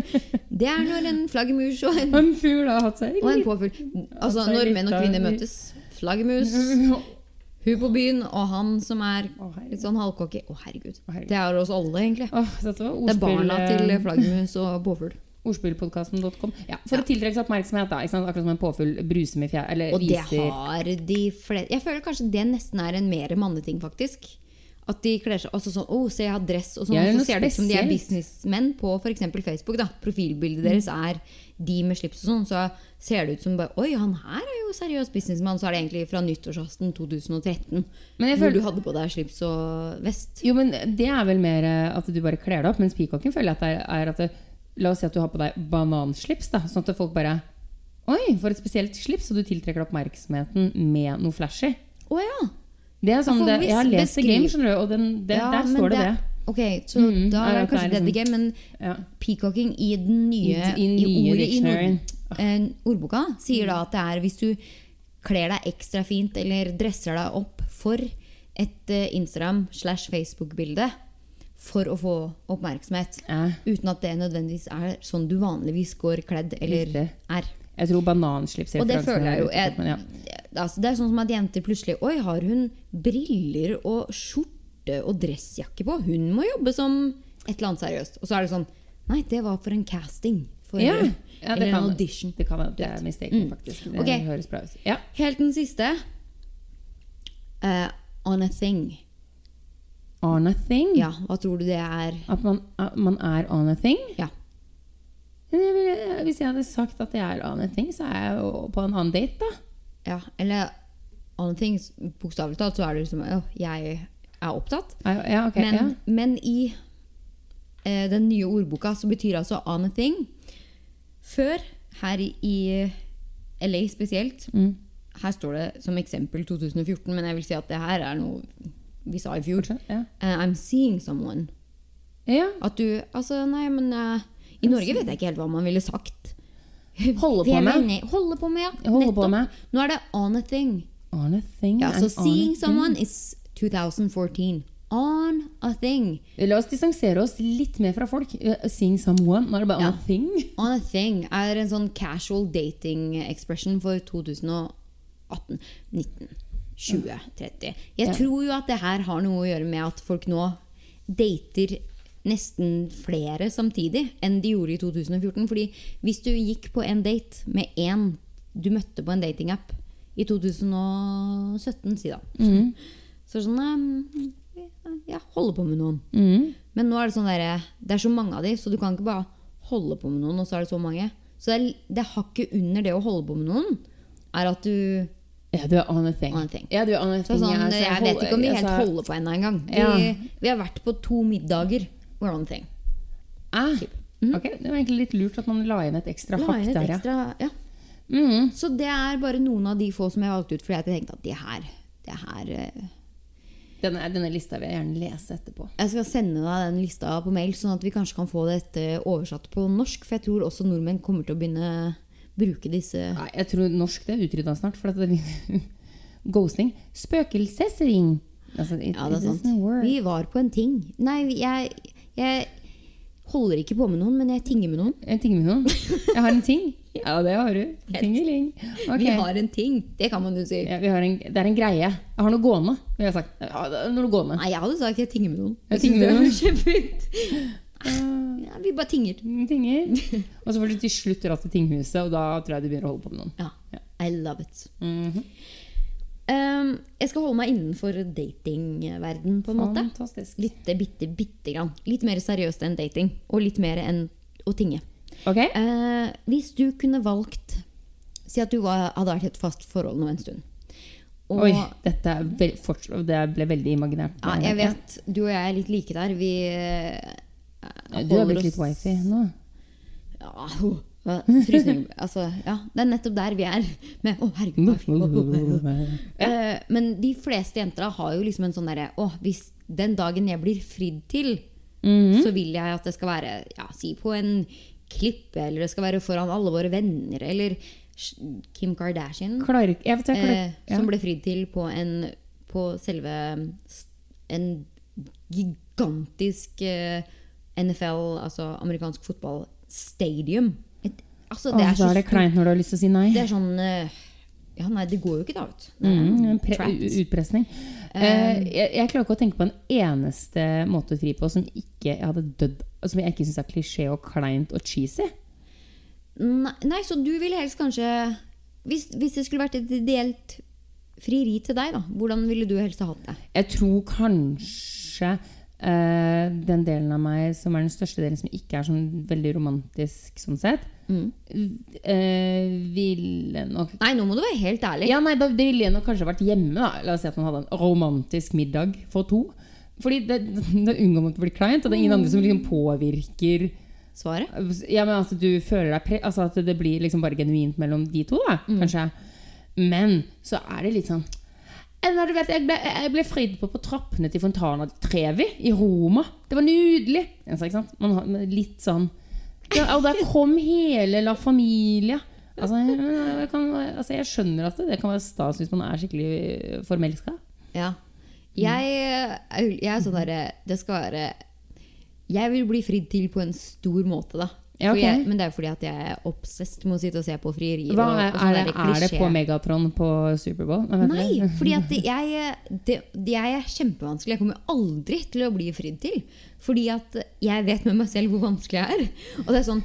Speaker 1: Det er når en flaggermus og en,
Speaker 2: En fugl har hatt seg
Speaker 1: og en påfugl Altså
Speaker 2: Altså,
Speaker 1: når
Speaker 2: litt
Speaker 1: menn og
Speaker 2: av-
Speaker 1: kvinner møtes. Flaggermus,
Speaker 2: <laughs>
Speaker 1: hun på byen og han som er
Speaker 2: Å, herregud.
Speaker 1: litt sånn halvcocky. Å, herregud.
Speaker 2: Å, herregud.
Speaker 1: Det er oss alle, egentlig.
Speaker 2: Åh, dette var
Speaker 1: Det er barna til
Speaker 2: ordspill, eh,
Speaker 1: flaggermus og
Speaker 2: <laughs>
Speaker 1: påfugl.
Speaker 2: ordspillpodkasten.com. Ja, for å tiltrekke seg oppmerksomhet, da. Ikke sant? Akkurat som en påfugl bruser med fjær... Eller
Speaker 1: Og det
Speaker 2: viser
Speaker 1: har de fleste Jeg føler kanskje det nesten er en mer manneting, faktisk. At de kler seg altså sånn Å, se, jeg har dress, og sånn.
Speaker 2: Ja, det er
Speaker 1: så
Speaker 2: noe
Speaker 1: ser det ut som de er
Speaker 2: spesielt. Mm.
Speaker 1: businessmenn på f.eks. Facebook. da Profilbildet deres er de med slips og sånn. Så ser det ut som bare Oi, han her er jo seriøs businessmann. Så er det egentlig fra nyttårsaften 2013.
Speaker 2: Men jeg
Speaker 1: hvor
Speaker 2: føler-
Speaker 1: du hadde på deg slips og vest.
Speaker 2: Jo, men det er vel mer eh, at du bare kler deg opp, mens peacocken føler jeg at det er- er at det, La oss si at du har på deg bananslips, da, sånn at folk bare Oi, for et spesielt slips, og du tiltrekker deg oppmerksomheten med noe flashy.
Speaker 1: Å ja!
Speaker 2: Det er sånn,
Speaker 1: Ja, for
Speaker 2: det, jeg har
Speaker 1: hvis-
Speaker 2: lest The
Speaker 1: beskriv-
Speaker 2: Game, skjønner du, og den, det,
Speaker 1: Ja,
Speaker 2: der
Speaker 1: men
Speaker 2: står det det.
Speaker 1: Ok, så
Speaker 2: Mm,
Speaker 1: da
Speaker 2: er
Speaker 1: er det
Speaker 2: at det
Speaker 1: kanskje
Speaker 2: er
Speaker 1: Dead
Speaker 2: liksom-
Speaker 1: Game, men
Speaker 2: Ja.
Speaker 1: peacocking i den nye,
Speaker 2: I- i nye
Speaker 1: ordet i
Speaker 2: dictionaryen.
Speaker 1: Nord- eh, ordboka sier da at det er hvis du kler deg ekstra fint eller dresser deg opp for et eh, Instagram slash Facebook-bilde for å få oppmerksomhet.
Speaker 2: Ja.
Speaker 1: Uten at det nødvendigvis er sånn du vanligvis går kledd eller
Speaker 2: Riktig.
Speaker 1: er.
Speaker 2: Jeg tror bananslips
Speaker 1: Og det føler jeg jo.
Speaker 2: er ute på, men ja.
Speaker 1: Jeg, altså, det er sånn som at jenter plutselig Oi, har hun briller og skjorte og dressjakke på? Hun må jobbe som et eller annet seriøst. Og så er det sånn Nei, det var for en casting. For,
Speaker 2: Ja, ja, det
Speaker 1: eller
Speaker 2: kan-
Speaker 1: en audition.
Speaker 2: Det kan være at det er mistaken, faktisk. Det
Speaker 1: Mm. Ok.
Speaker 2: høres bra ut. Ja.
Speaker 1: Helt den siste. Eh, on a thing.
Speaker 2: On a thing.
Speaker 1: Ja, hva tror du det er?
Speaker 2: At man, at man er on a thing.
Speaker 1: Ja.
Speaker 2: Men jeg ville- Hvis jeg hadde sagt at jeg er on a thing, så er jeg jo på en annen date, da.
Speaker 1: ja eller on a thing, bokstavelig talt, så er det liksom «Åh, jeg er opptatt.
Speaker 2: Er- Ja, ok.
Speaker 1: men,
Speaker 2: ja.
Speaker 1: men i eh, den nye ordboka så betyr altså on a thing. Før, her i, i LA spesielt,
Speaker 2: Mm.
Speaker 1: her står det som eksempel 2014, men jeg vil si at det her er noe vi sa i fjor.
Speaker 2: Fortsett, ja.
Speaker 1: Eh, I'm seeing someone.
Speaker 2: ja.
Speaker 1: At du Altså, nei, men eh, I Norge vet jeg ikke helt hva man ville sagt.
Speaker 2: Holde
Speaker 1: Vi
Speaker 2: på
Speaker 1: er
Speaker 2: med.
Speaker 1: venner. Holde på med, ja.
Speaker 2: Holde på
Speaker 1: Nettopp.
Speaker 2: med.
Speaker 1: Nå er det on a thing.
Speaker 2: On a thing.
Speaker 1: Ja,
Speaker 2: and
Speaker 1: så
Speaker 2: on a
Speaker 1: seeing
Speaker 2: thing.
Speaker 1: someone is 2014. On a thing.
Speaker 2: La oss distansere oss litt mer fra folk. Eh, Seeing someone. Nå er det bare
Speaker 1: Ja.
Speaker 2: on a thing.
Speaker 1: On a thing er en sånn casual dating expression for 2018, 19, 20, 30. Jeg
Speaker 2: Ja.
Speaker 1: tror jo at det her har noe å gjøre med at folk nå dater nesten flere samtidig enn de gjorde i 2014. Fordi hvis du gikk på en date med én du møtte på en datingapp i 2017, si da. Så er det sånn ehm, Ja, holder på med noen.
Speaker 2: Mm.
Speaker 1: Men nå er det sånn der, det er så mange av de, så du kan ikke bare holde på med noen, og så er det så mange. Så det, er, det er hakket under det å holde på med noen, er at du
Speaker 2: Ja, du er on a thing.
Speaker 1: On a thing.
Speaker 2: Ja, du er on a
Speaker 1: så
Speaker 2: thing.
Speaker 1: sånn,
Speaker 2: ja, så
Speaker 1: Jeg,
Speaker 2: holder-
Speaker 1: vet ikke om vi
Speaker 2: jeg
Speaker 1: helt
Speaker 2: sa-
Speaker 1: holder på ennå engang. Vi,
Speaker 2: Ja.
Speaker 1: vi har vært på to middager. We're on a thing.
Speaker 2: Ah, ok, Det var egentlig litt lurt at man la inn et ekstra
Speaker 1: Mm. La
Speaker 2: hakk
Speaker 1: inn et
Speaker 2: der, ja.
Speaker 1: ekstra, ja.
Speaker 2: Mhm.
Speaker 1: Så det er bare noen av de få som jeg valgte ut, fordi jeg tenkte at det her, det her eh,
Speaker 2: Denne, denne lista vil jeg gjerne lese etterpå.
Speaker 1: Jeg skal sende deg den lista på mail, sånn at vi kanskje kan få dette oversatt på norsk. For jeg tror også nordmenn kommer til å begynne å bruke disse
Speaker 2: Nei, <laughs> jeg tror norsk det er utrydda snart. For at det, ghosting. Spøkelsesring. Altså, it,
Speaker 1: Ja, det er
Speaker 2: it
Speaker 1: sant.
Speaker 2: doesn't work.
Speaker 1: Vi var på en ting. Nei, vi- jeg, jeg holder ikke på med noen, men jeg tinger med noen.
Speaker 2: En ting med noen. Jeg har
Speaker 1: <laughs>
Speaker 2: en ting. Ja, det har du. Tingeling. Ok.
Speaker 1: Vi har en ting. Det kan man jo si.
Speaker 2: ja, vi har en, det er en greie. Jeg har noe gående. Vi har sagt ja, det er noe gående.
Speaker 1: Nei, jeg hadde sagt jeg tinger med noen.
Speaker 2: Jeg
Speaker 1: synes
Speaker 2: tinger med
Speaker 1: det er kjempefint. Ja, vi bare tinger. <laughs>
Speaker 2: Eh, Tinger. Og så får du til slutt dratt til tinghuset, og da tror jeg du begynner å holde på med noen.
Speaker 1: Ja.
Speaker 2: Ja.
Speaker 1: I love it.
Speaker 2: Mhm.
Speaker 1: Um, jeg skal holde meg innenfor datingverden, på en måte.
Speaker 2: Fantastisk.
Speaker 1: Bitte, bitte, bitte grann. Litt mer seriøst enn dating, og litt mer enn å tinge.
Speaker 2: Ok.
Speaker 1: Eh, hvis du kunne valgt Si at du var, hadde vært i et fast forhold nå en stund. Og,
Speaker 2: Oi, dette er vel, fortsatt, det ble veldig imaginært.
Speaker 1: Ja, jeg vet, du og jeg er litt like der. Vi eh,
Speaker 2: Ja, Du har
Speaker 1: holder
Speaker 2: blitt litt
Speaker 1: oss-
Speaker 2: wifey nå.
Speaker 1: Ja, <laughs> ho, ja, frysning. altså, ja, det er nettopp der vi er. Med, å, herregud, hva er fint, å, å, å, å. Eh, Men de fleste jenter da har jo liksom en sånn derre Å, hvis den dagen jeg blir fridd til,
Speaker 2: Mhm.
Speaker 1: så vil jeg at det skal være ja, si på en klippe, eller det skal være foran alle våre venner, eller Sh- Kim Kardashian,
Speaker 2: <laughs> Klarer ikke Jeg vet jeg klarer
Speaker 1: eh, som ble fridd til på en På selve s- en gigantisk eh, NFL, altså amerikansk fotball, stadium. Et, altså, det er
Speaker 2: Da
Speaker 1: så
Speaker 2: er det
Speaker 1: stort.
Speaker 2: kleint når du har lyst til å si nei.
Speaker 1: Det er sånn eh, Ja, nei, det går jo ikke da, vet du.
Speaker 2: Mm, pre
Speaker 1: Trapped.
Speaker 2: u- utpressning. Eh, jeg, jeg klarer ikke å tenke på en eneste måte å fri på som, ikke jeg hadde dødd, som jeg ikke syns er klisjé og kleint og cheesy.
Speaker 1: Nei, nei, så du ville helst kanskje hvis, hvis det skulle vært et ideelt frieri til deg, da, hvordan ville du helst ha hatt det?
Speaker 2: Jeg tror kanskje eh, den delen av meg som er den største delen som ikke er sånn veldig romantisk sånn sett, eh, ville nok
Speaker 1: Nei, nå må du være helt ærlig.
Speaker 2: Ja, nei, da det ville jeg nok kanskje vært hjemme, da. La oss si at man hadde en romantisk middag for to. Fordi det, <laughs> da unngår man ikke å bli kleint, og det er ingen andre som liksom påvirker
Speaker 1: Svaret?
Speaker 2: Ja, men at du føler deg pre altså At det blir liksom bare genuint mellom de to, da,
Speaker 1: Mm.
Speaker 2: kanskje. Men så er det litt sånn «Eh, nei, du vet, jeg ble, jeg ble fridd på på trappene til Fontana di Trevi i Roma. Det var nydelig! Altså, ikke sant? Man har men litt sånn ja, Og der kom hele La Familia. Altså, jeg, jeg kan, altså, jeg skjønner at det, det kan være stas hvis man er skikkelig eh, formelska.
Speaker 1: Ja.
Speaker 2: Mm.
Speaker 1: Jeg, eh, er- jeg er sånn derre Det skal være Jeg vil bli fridd til på en stor måte, da.
Speaker 2: Ja,
Speaker 1: For
Speaker 2: ok.
Speaker 1: jeg, men det er fordi at jeg er obsessed med å sitte og se på frierier.
Speaker 2: Hva
Speaker 1: og-
Speaker 2: er,
Speaker 1: og
Speaker 2: sånn er,
Speaker 1: sånne
Speaker 2: det,
Speaker 1: der
Speaker 2: er det på
Speaker 1: klisjé-
Speaker 2: Megatron på Superbowl?
Speaker 1: Nei, fordi at jeg, det, det- jeg er kjempevanskelig. Jeg kommer aldri til å bli fridd til. Fordi at jeg vet med meg selv hvor vanskelig jeg er. Og det er sånn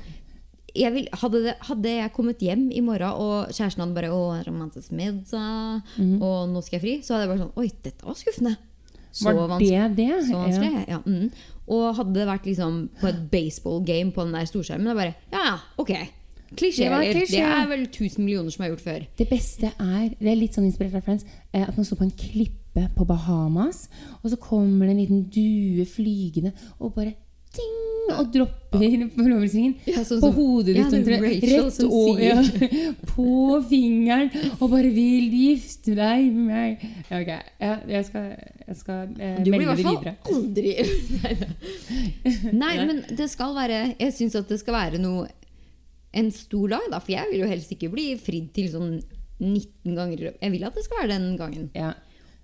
Speaker 1: jeg vil, hadde, det, hadde jeg kommet hjem i morgen og kjæresten hadde bare 'Å, romantisk middag',
Speaker 2: Mhm.
Speaker 1: og 'nå skal jeg fri', så hadde jeg bare sånn 'Oi, dette var skuffende'. Så
Speaker 2: Var
Speaker 1: vanskelig.
Speaker 2: det det?
Speaker 1: Så
Speaker 2: Ja.
Speaker 1: vanskelig, ja. Mm. Og hadde det vært liksom på et baseballgame på den der storskjermen, da bare Ja, ja, ok. Klisjé,
Speaker 2: Det var
Speaker 1: eller?
Speaker 2: klisjé.
Speaker 1: Det er vel 1000 millioner som er gjort før.
Speaker 2: Det beste er, det er litt sånn inspirert av Friends, eh, at man står på en klippe på Bahamas, og så kommer det en liten due flygende og bare ting, og dropper forlovelsesringen
Speaker 1: Ja, Ah. sånn
Speaker 2: på
Speaker 1: som-
Speaker 2: hodet
Speaker 1: ja,
Speaker 2: ditt
Speaker 1: det er
Speaker 2: omtrent
Speaker 1: Rachel
Speaker 2: rett
Speaker 1: som
Speaker 2: og-
Speaker 1: sier.
Speaker 2: ja, <laughs> på fingeren og bare 'vil du gifte deg med meg'? Ja, ok. Ja, jeg skal, jeg skal eh,
Speaker 1: Du blir i
Speaker 2: melde det
Speaker 1: hvert
Speaker 2: videre.
Speaker 1: fall aldri <laughs>
Speaker 2: <laughs>
Speaker 1: Nei, men det skal være Jeg syns at det skal være noe en stor dag, da. For jeg vil jo helst ikke bli fridd til sånn 19 ganger. i løpet. Jeg vil at det skal være den gangen.
Speaker 2: Ja.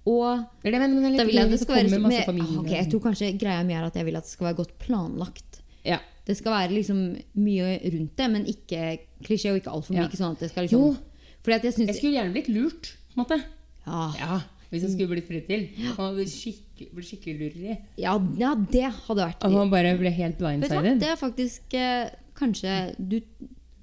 Speaker 1: Og
Speaker 2: Det er det, men, men,
Speaker 1: da vil jeg at det
Speaker 2: så
Speaker 1: skal være
Speaker 2: kommer masse
Speaker 1: med, ah,
Speaker 2: familie.
Speaker 1: Ok, Jeg tror kanskje greia mi er at jeg vil at det skal være godt planlagt.
Speaker 2: ja.
Speaker 1: Det skal være liksom mye rundt det, men ikke klisjé og ikke altfor mye.
Speaker 2: Ja.
Speaker 1: Ikke sånn at det skal liksom,
Speaker 2: Jo.
Speaker 1: Fordi at jeg Ah,
Speaker 2: Jeg
Speaker 1: syns
Speaker 2: skulle gjerne blitt lurt, på en måte.
Speaker 1: ja,
Speaker 2: Ja, hvis jeg skulle blitt fridd til. Han hadde skikke, blitt skikkelig lureri.
Speaker 1: ja, ja, det hadde vært
Speaker 2: At man bare ble helt
Speaker 1: Vet du hva,
Speaker 2: blindsided.
Speaker 1: det er faktisk eh, kanskje du,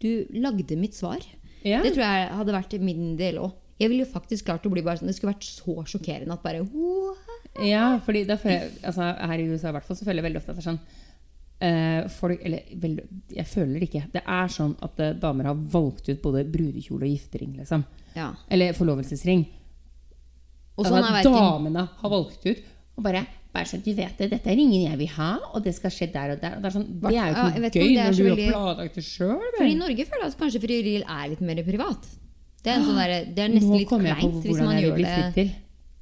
Speaker 1: du lagde mitt svar.
Speaker 2: Ja.
Speaker 1: Det tror jeg hadde vært min del òg. Jeg ville faktisk klart å bli bare sånn Det skulle vært så sjokkerende at bare «What?»
Speaker 2: Ja, fordi da føler jeg, altså, her i USA i hvert fall, så føler jeg veldig ofte at det er sånn eh, folk, eller vel, jeg føler det ikke. Det er sånn at eh, damer har valgt ut både brudekjole og giftering, liksom.
Speaker 1: Ja.
Speaker 2: Eller forlovelsesring.
Speaker 1: Og sånn er verken
Speaker 2: altså, damene har valgt ut og bare bare sånn, du vet det, dette er ingen jeg vil ha, og det skal skje der og der. Og det, er sånn, det er jo
Speaker 1: Ja, jeg
Speaker 2: ikke noe
Speaker 1: vet ikke om det
Speaker 2: gøy
Speaker 1: er
Speaker 2: når
Speaker 1: så
Speaker 2: du har
Speaker 1: veldig-
Speaker 2: planlagt det sjøl.
Speaker 1: For i Norge føler jeg at kanskje frieri er litt mer privat. Det er, en sånn derre- det er nesten litt kleint hvis man gjør det
Speaker 2: til.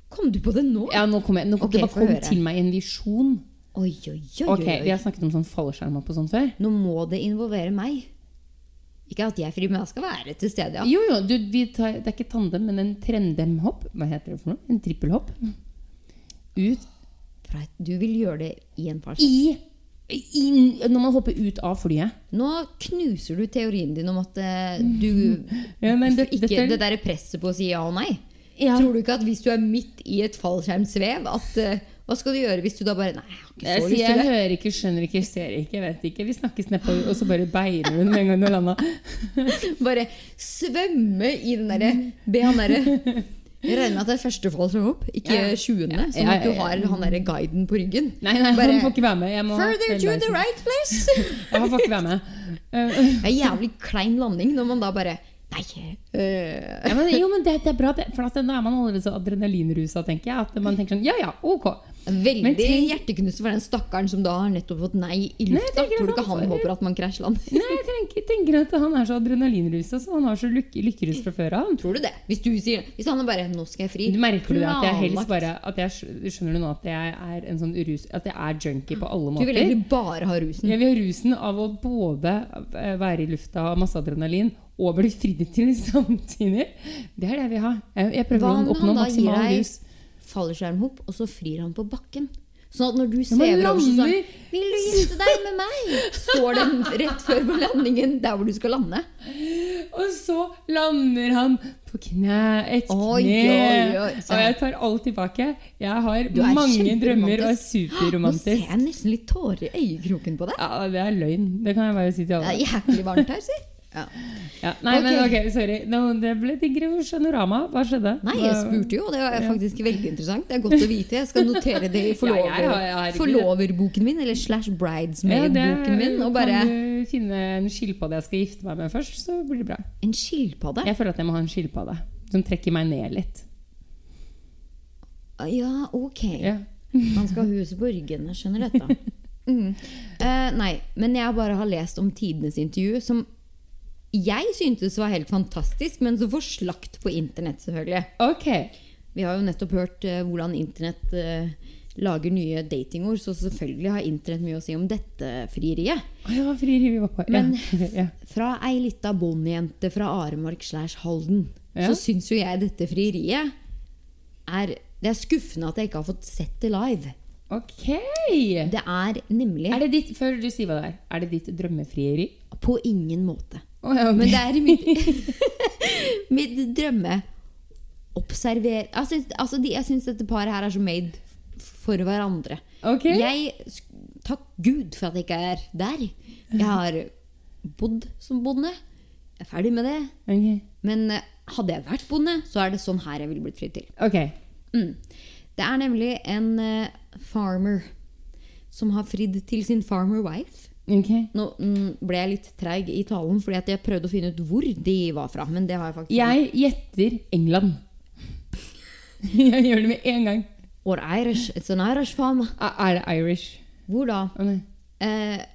Speaker 1: Kom du på det nå?
Speaker 2: Ja, nå kom jeg, nå,
Speaker 1: Ok,
Speaker 2: det
Speaker 1: få
Speaker 2: bare kom
Speaker 1: høre.
Speaker 2: til meg i en visjon.
Speaker 1: Oi, oi, oi.
Speaker 2: Ok,
Speaker 1: oi, oi.
Speaker 2: Vi har snakket om sånn fallskjermer på sånn før.
Speaker 1: Nå må det involvere meg. Ikke at jeg er fri, men jeg skal være til stede. ja.
Speaker 2: Jo, jo, du, vi tar, Det er ikke tandem, men en trendemhopp. Hva heter det for noe? En trippelhopp? ut
Speaker 1: Fra et- Du vil gjøre det i en fart.
Speaker 2: i, i Når man hopper ut av flyet.
Speaker 1: Nå knuser du teorien din om at eh, du
Speaker 2: Mm. <laughs> Ja, men det-
Speaker 1: ikke,
Speaker 2: dette-
Speaker 1: Det derre presset på å si ja og nei.
Speaker 2: Ja.
Speaker 1: Tror du ikke at hvis du er midt i et fallskjermsvev, at eh, hva skal du gjøre hvis du da bare Nei, jeg
Speaker 2: Jeg
Speaker 1: har ikke så
Speaker 2: sier
Speaker 1: lyst til
Speaker 2: jeg
Speaker 1: det.
Speaker 2: hører ikke, skjønner ikke, ser ikke, vet ikke. Vi snakkes nedpå, og så bare beiner hun med en gang du har landa.
Speaker 1: Bare svømme i den derre
Speaker 2: Mm.
Speaker 1: Be han derre
Speaker 2: <laughs>
Speaker 1: Jeg regner med at det er første fall som opp, ikke
Speaker 2: Ja.
Speaker 1: tjuende.
Speaker 2: Ja,
Speaker 1: Sånn
Speaker 2: ja,
Speaker 1: at du
Speaker 2: ja.
Speaker 1: har han derre guiden på ryggen.
Speaker 2: Nei, nei,
Speaker 1: Bare-
Speaker 2: han får ikke være med. Jeg må ha
Speaker 1: Further to the
Speaker 2: selvleisen.
Speaker 1: right
Speaker 2: <laughs>
Speaker 1: place!
Speaker 2: Ja, Han får ikke være med. Eh,
Speaker 1: Det er jævlig klein landing når man da bare Nei. eh,
Speaker 2: ja, men, jo, men det, det er bra, det, for at, da er man allerede så adrenalinrusa, tenker jeg. At man tenker sånn ja ja, ok. Men
Speaker 1: Veldig
Speaker 2: tenk-
Speaker 1: hjerteknuser for den stakkaren som da har nettopp fått nei i
Speaker 2: Nei, jeg
Speaker 1: lufta.
Speaker 2: tenker
Speaker 1: Tror du
Speaker 2: at
Speaker 1: ikke
Speaker 2: han
Speaker 1: han <laughs>
Speaker 2: får-
Speaker 1: håper at man krasjlander?
Speaker 2: Nei, jeg tenker, tenker at han er så adrenalinrusa, så han har så lykke, lykkerus fra før av. han.
Speaker 1: Tror du det? Hvis du sier Hvis han er bare 'nå skal jeg fri'
Speaker 2: Du merker du det at jeg helst
Speaker 1: planlagt.
Speaker 2: bare at jeg, skj- Skjønner du nå at jeg er en sånn rus... At jeg er junkie på alle
Speaker 1: Du vil
Speaker 2: måter?
Speaker 1: egentlig bare ha rusen.
Speaker 2: Jeg vil ha rusen av å både eh, være i lufta og ha masse adrenalin og bli fridd til samtidig. Det er det jeg vil ha. Jeg, jeg prøver
Speaker 1: Hva
Speaker 2: å
Speaker 1: om han
Speaker 2: oppnå
Speaker 1: da gir
Speaker 2: maksimal
Speaker 1: deg
Speaker 2: rus.
Speaker 1: fallskjermhopp, og så frir han på bakken? Sånn at når du
Speaker 2: men
Speaker 1: svever over så
Speaker 2: lander-
Speaker 1: sånn 'Vil du gifte deg med meg?' Står den rett før på landingen der hvor du skal lande.
Speaker 2: Og så lander han på kne, et kne.
Speaker 1: Oi, oi, oi.
Speaker 2: Og jeg tar alt tilbake. Jeg har
Speaker 1: Du er
Speaker 2: mange drømmer og
Speaker 1: kjemperomantisk. Nå
Speaker 2: er
Speaker 1: ser
Speaker 2: superromantisk.
Speaker 1: jeg nesten litt tårer i øyekroken på deg.
Speaker 2: Ja, det er løgn. Det kan jeg bare si til
Speaker 1: Det
Speaker 2: alle.
Speaker 1: er jæklig varmt her, si. Ja.
Speaker 2: Ja, nei, men
Speaker 1: Ok.
Speaker 2: ok, sorry. Nå, det ble digresjonorama. Hva skjedde?
Speaker 1: Nei, jeg
Speaker 2: Hva-
Speaker 1: spurte jo, og det var faktisk veldig interessant. Det er godt å vite. Jeg skal notere det i forlover,
Speaker 2: <laughs> Ja, jeg har- jeg har ikke-
Speaker 1: forloverboken min, eller slash
Speaker 2: Ja, det
Speaker 1: bridesmaid-boken min. Og bare
Speaker 2: Kan du finne en skilpadde jeg skal gifte meg med først, så blir det bra.
Speaker 1: En skilpadde?
Speaker 2: Jeg føler at jeg må ha en skilpadde som trekker meg ned litt.
Speaker 1: Ja, ok.
Speaker 2: Ja.
Speaker 1: Man skal ha huset på ryggen, jeg skjønner
Speaker 2: <laughs>
Speaker 1: dette. Mm. Eh, nei, men jeg bare har lest om tidenes intervju, som jeg syntes var helt fantastisk, men som får slakt på internett, selvfølgelig.
Speaker 2: Ok.
Speaker 1: Vi har jo nettopp hørt eh, hvordan internett eh, lager nye datingord, så selvfølgelig har internett mye å si om dette frieriet.
Speaker 2: Å, ja, frieri vi var på. Ja.
Speaker 1: Men-
Speaker 2: ja. <laughs>
Speaker 1: Fra ei lita bondejente fra Aremark slash Halden,
Speaker 2: Ja.
Speaker 1: så syns jo jeg dette frieriet er Det er skuffende at jeg ikke har fått sett det live.
Speaker 2: Ok!
Speaker 1: Det er nemlig
Speaker 2: Er det ditt, før du sier hva det er, er det ditt drømmefrieri?
Speaker 1: på ingen måte.
Speaker 2: Å, ja, ok.
Speaker 1: Men det er mitt, <laughs> mitt drømme Observer Jeg syns, altså de, jeg syns dette paret her er så made for hverandre.
Speaker 2: Ok.
Speaker 1: Jeg sk- Takk Gud for at jeg ikke er der. Jeg har bodd som bonde. Jeg er ferdig med det.
Speaker 2: Ok.
Speaker 1: Men eh, hadde jeg vært bonde, så er det sånn her jeg ville blitt fridd til.
Speaker 2: Ok.
Speaker 1: Mm. Det er nemlig en eh, farmer som har fridd til sin farmer wife.
Speaker 2: Ok.
Speaker 1: Nå mm, ble jeg litt treig i talen, fordi at jeg prøvde å finne ut hvor de var fra. Men det har jeg faktisk
Speaker 2: Jeg gjetter England. <laughs> Jeg gjør det med en gang.
Speaker 1: Or Irish. It's an Irish farm.
Speaker 2: Er- Er det Irish?
Speaker 1: Hvor da?
Speaker 2: Å nei.
Speaker 1: Eh,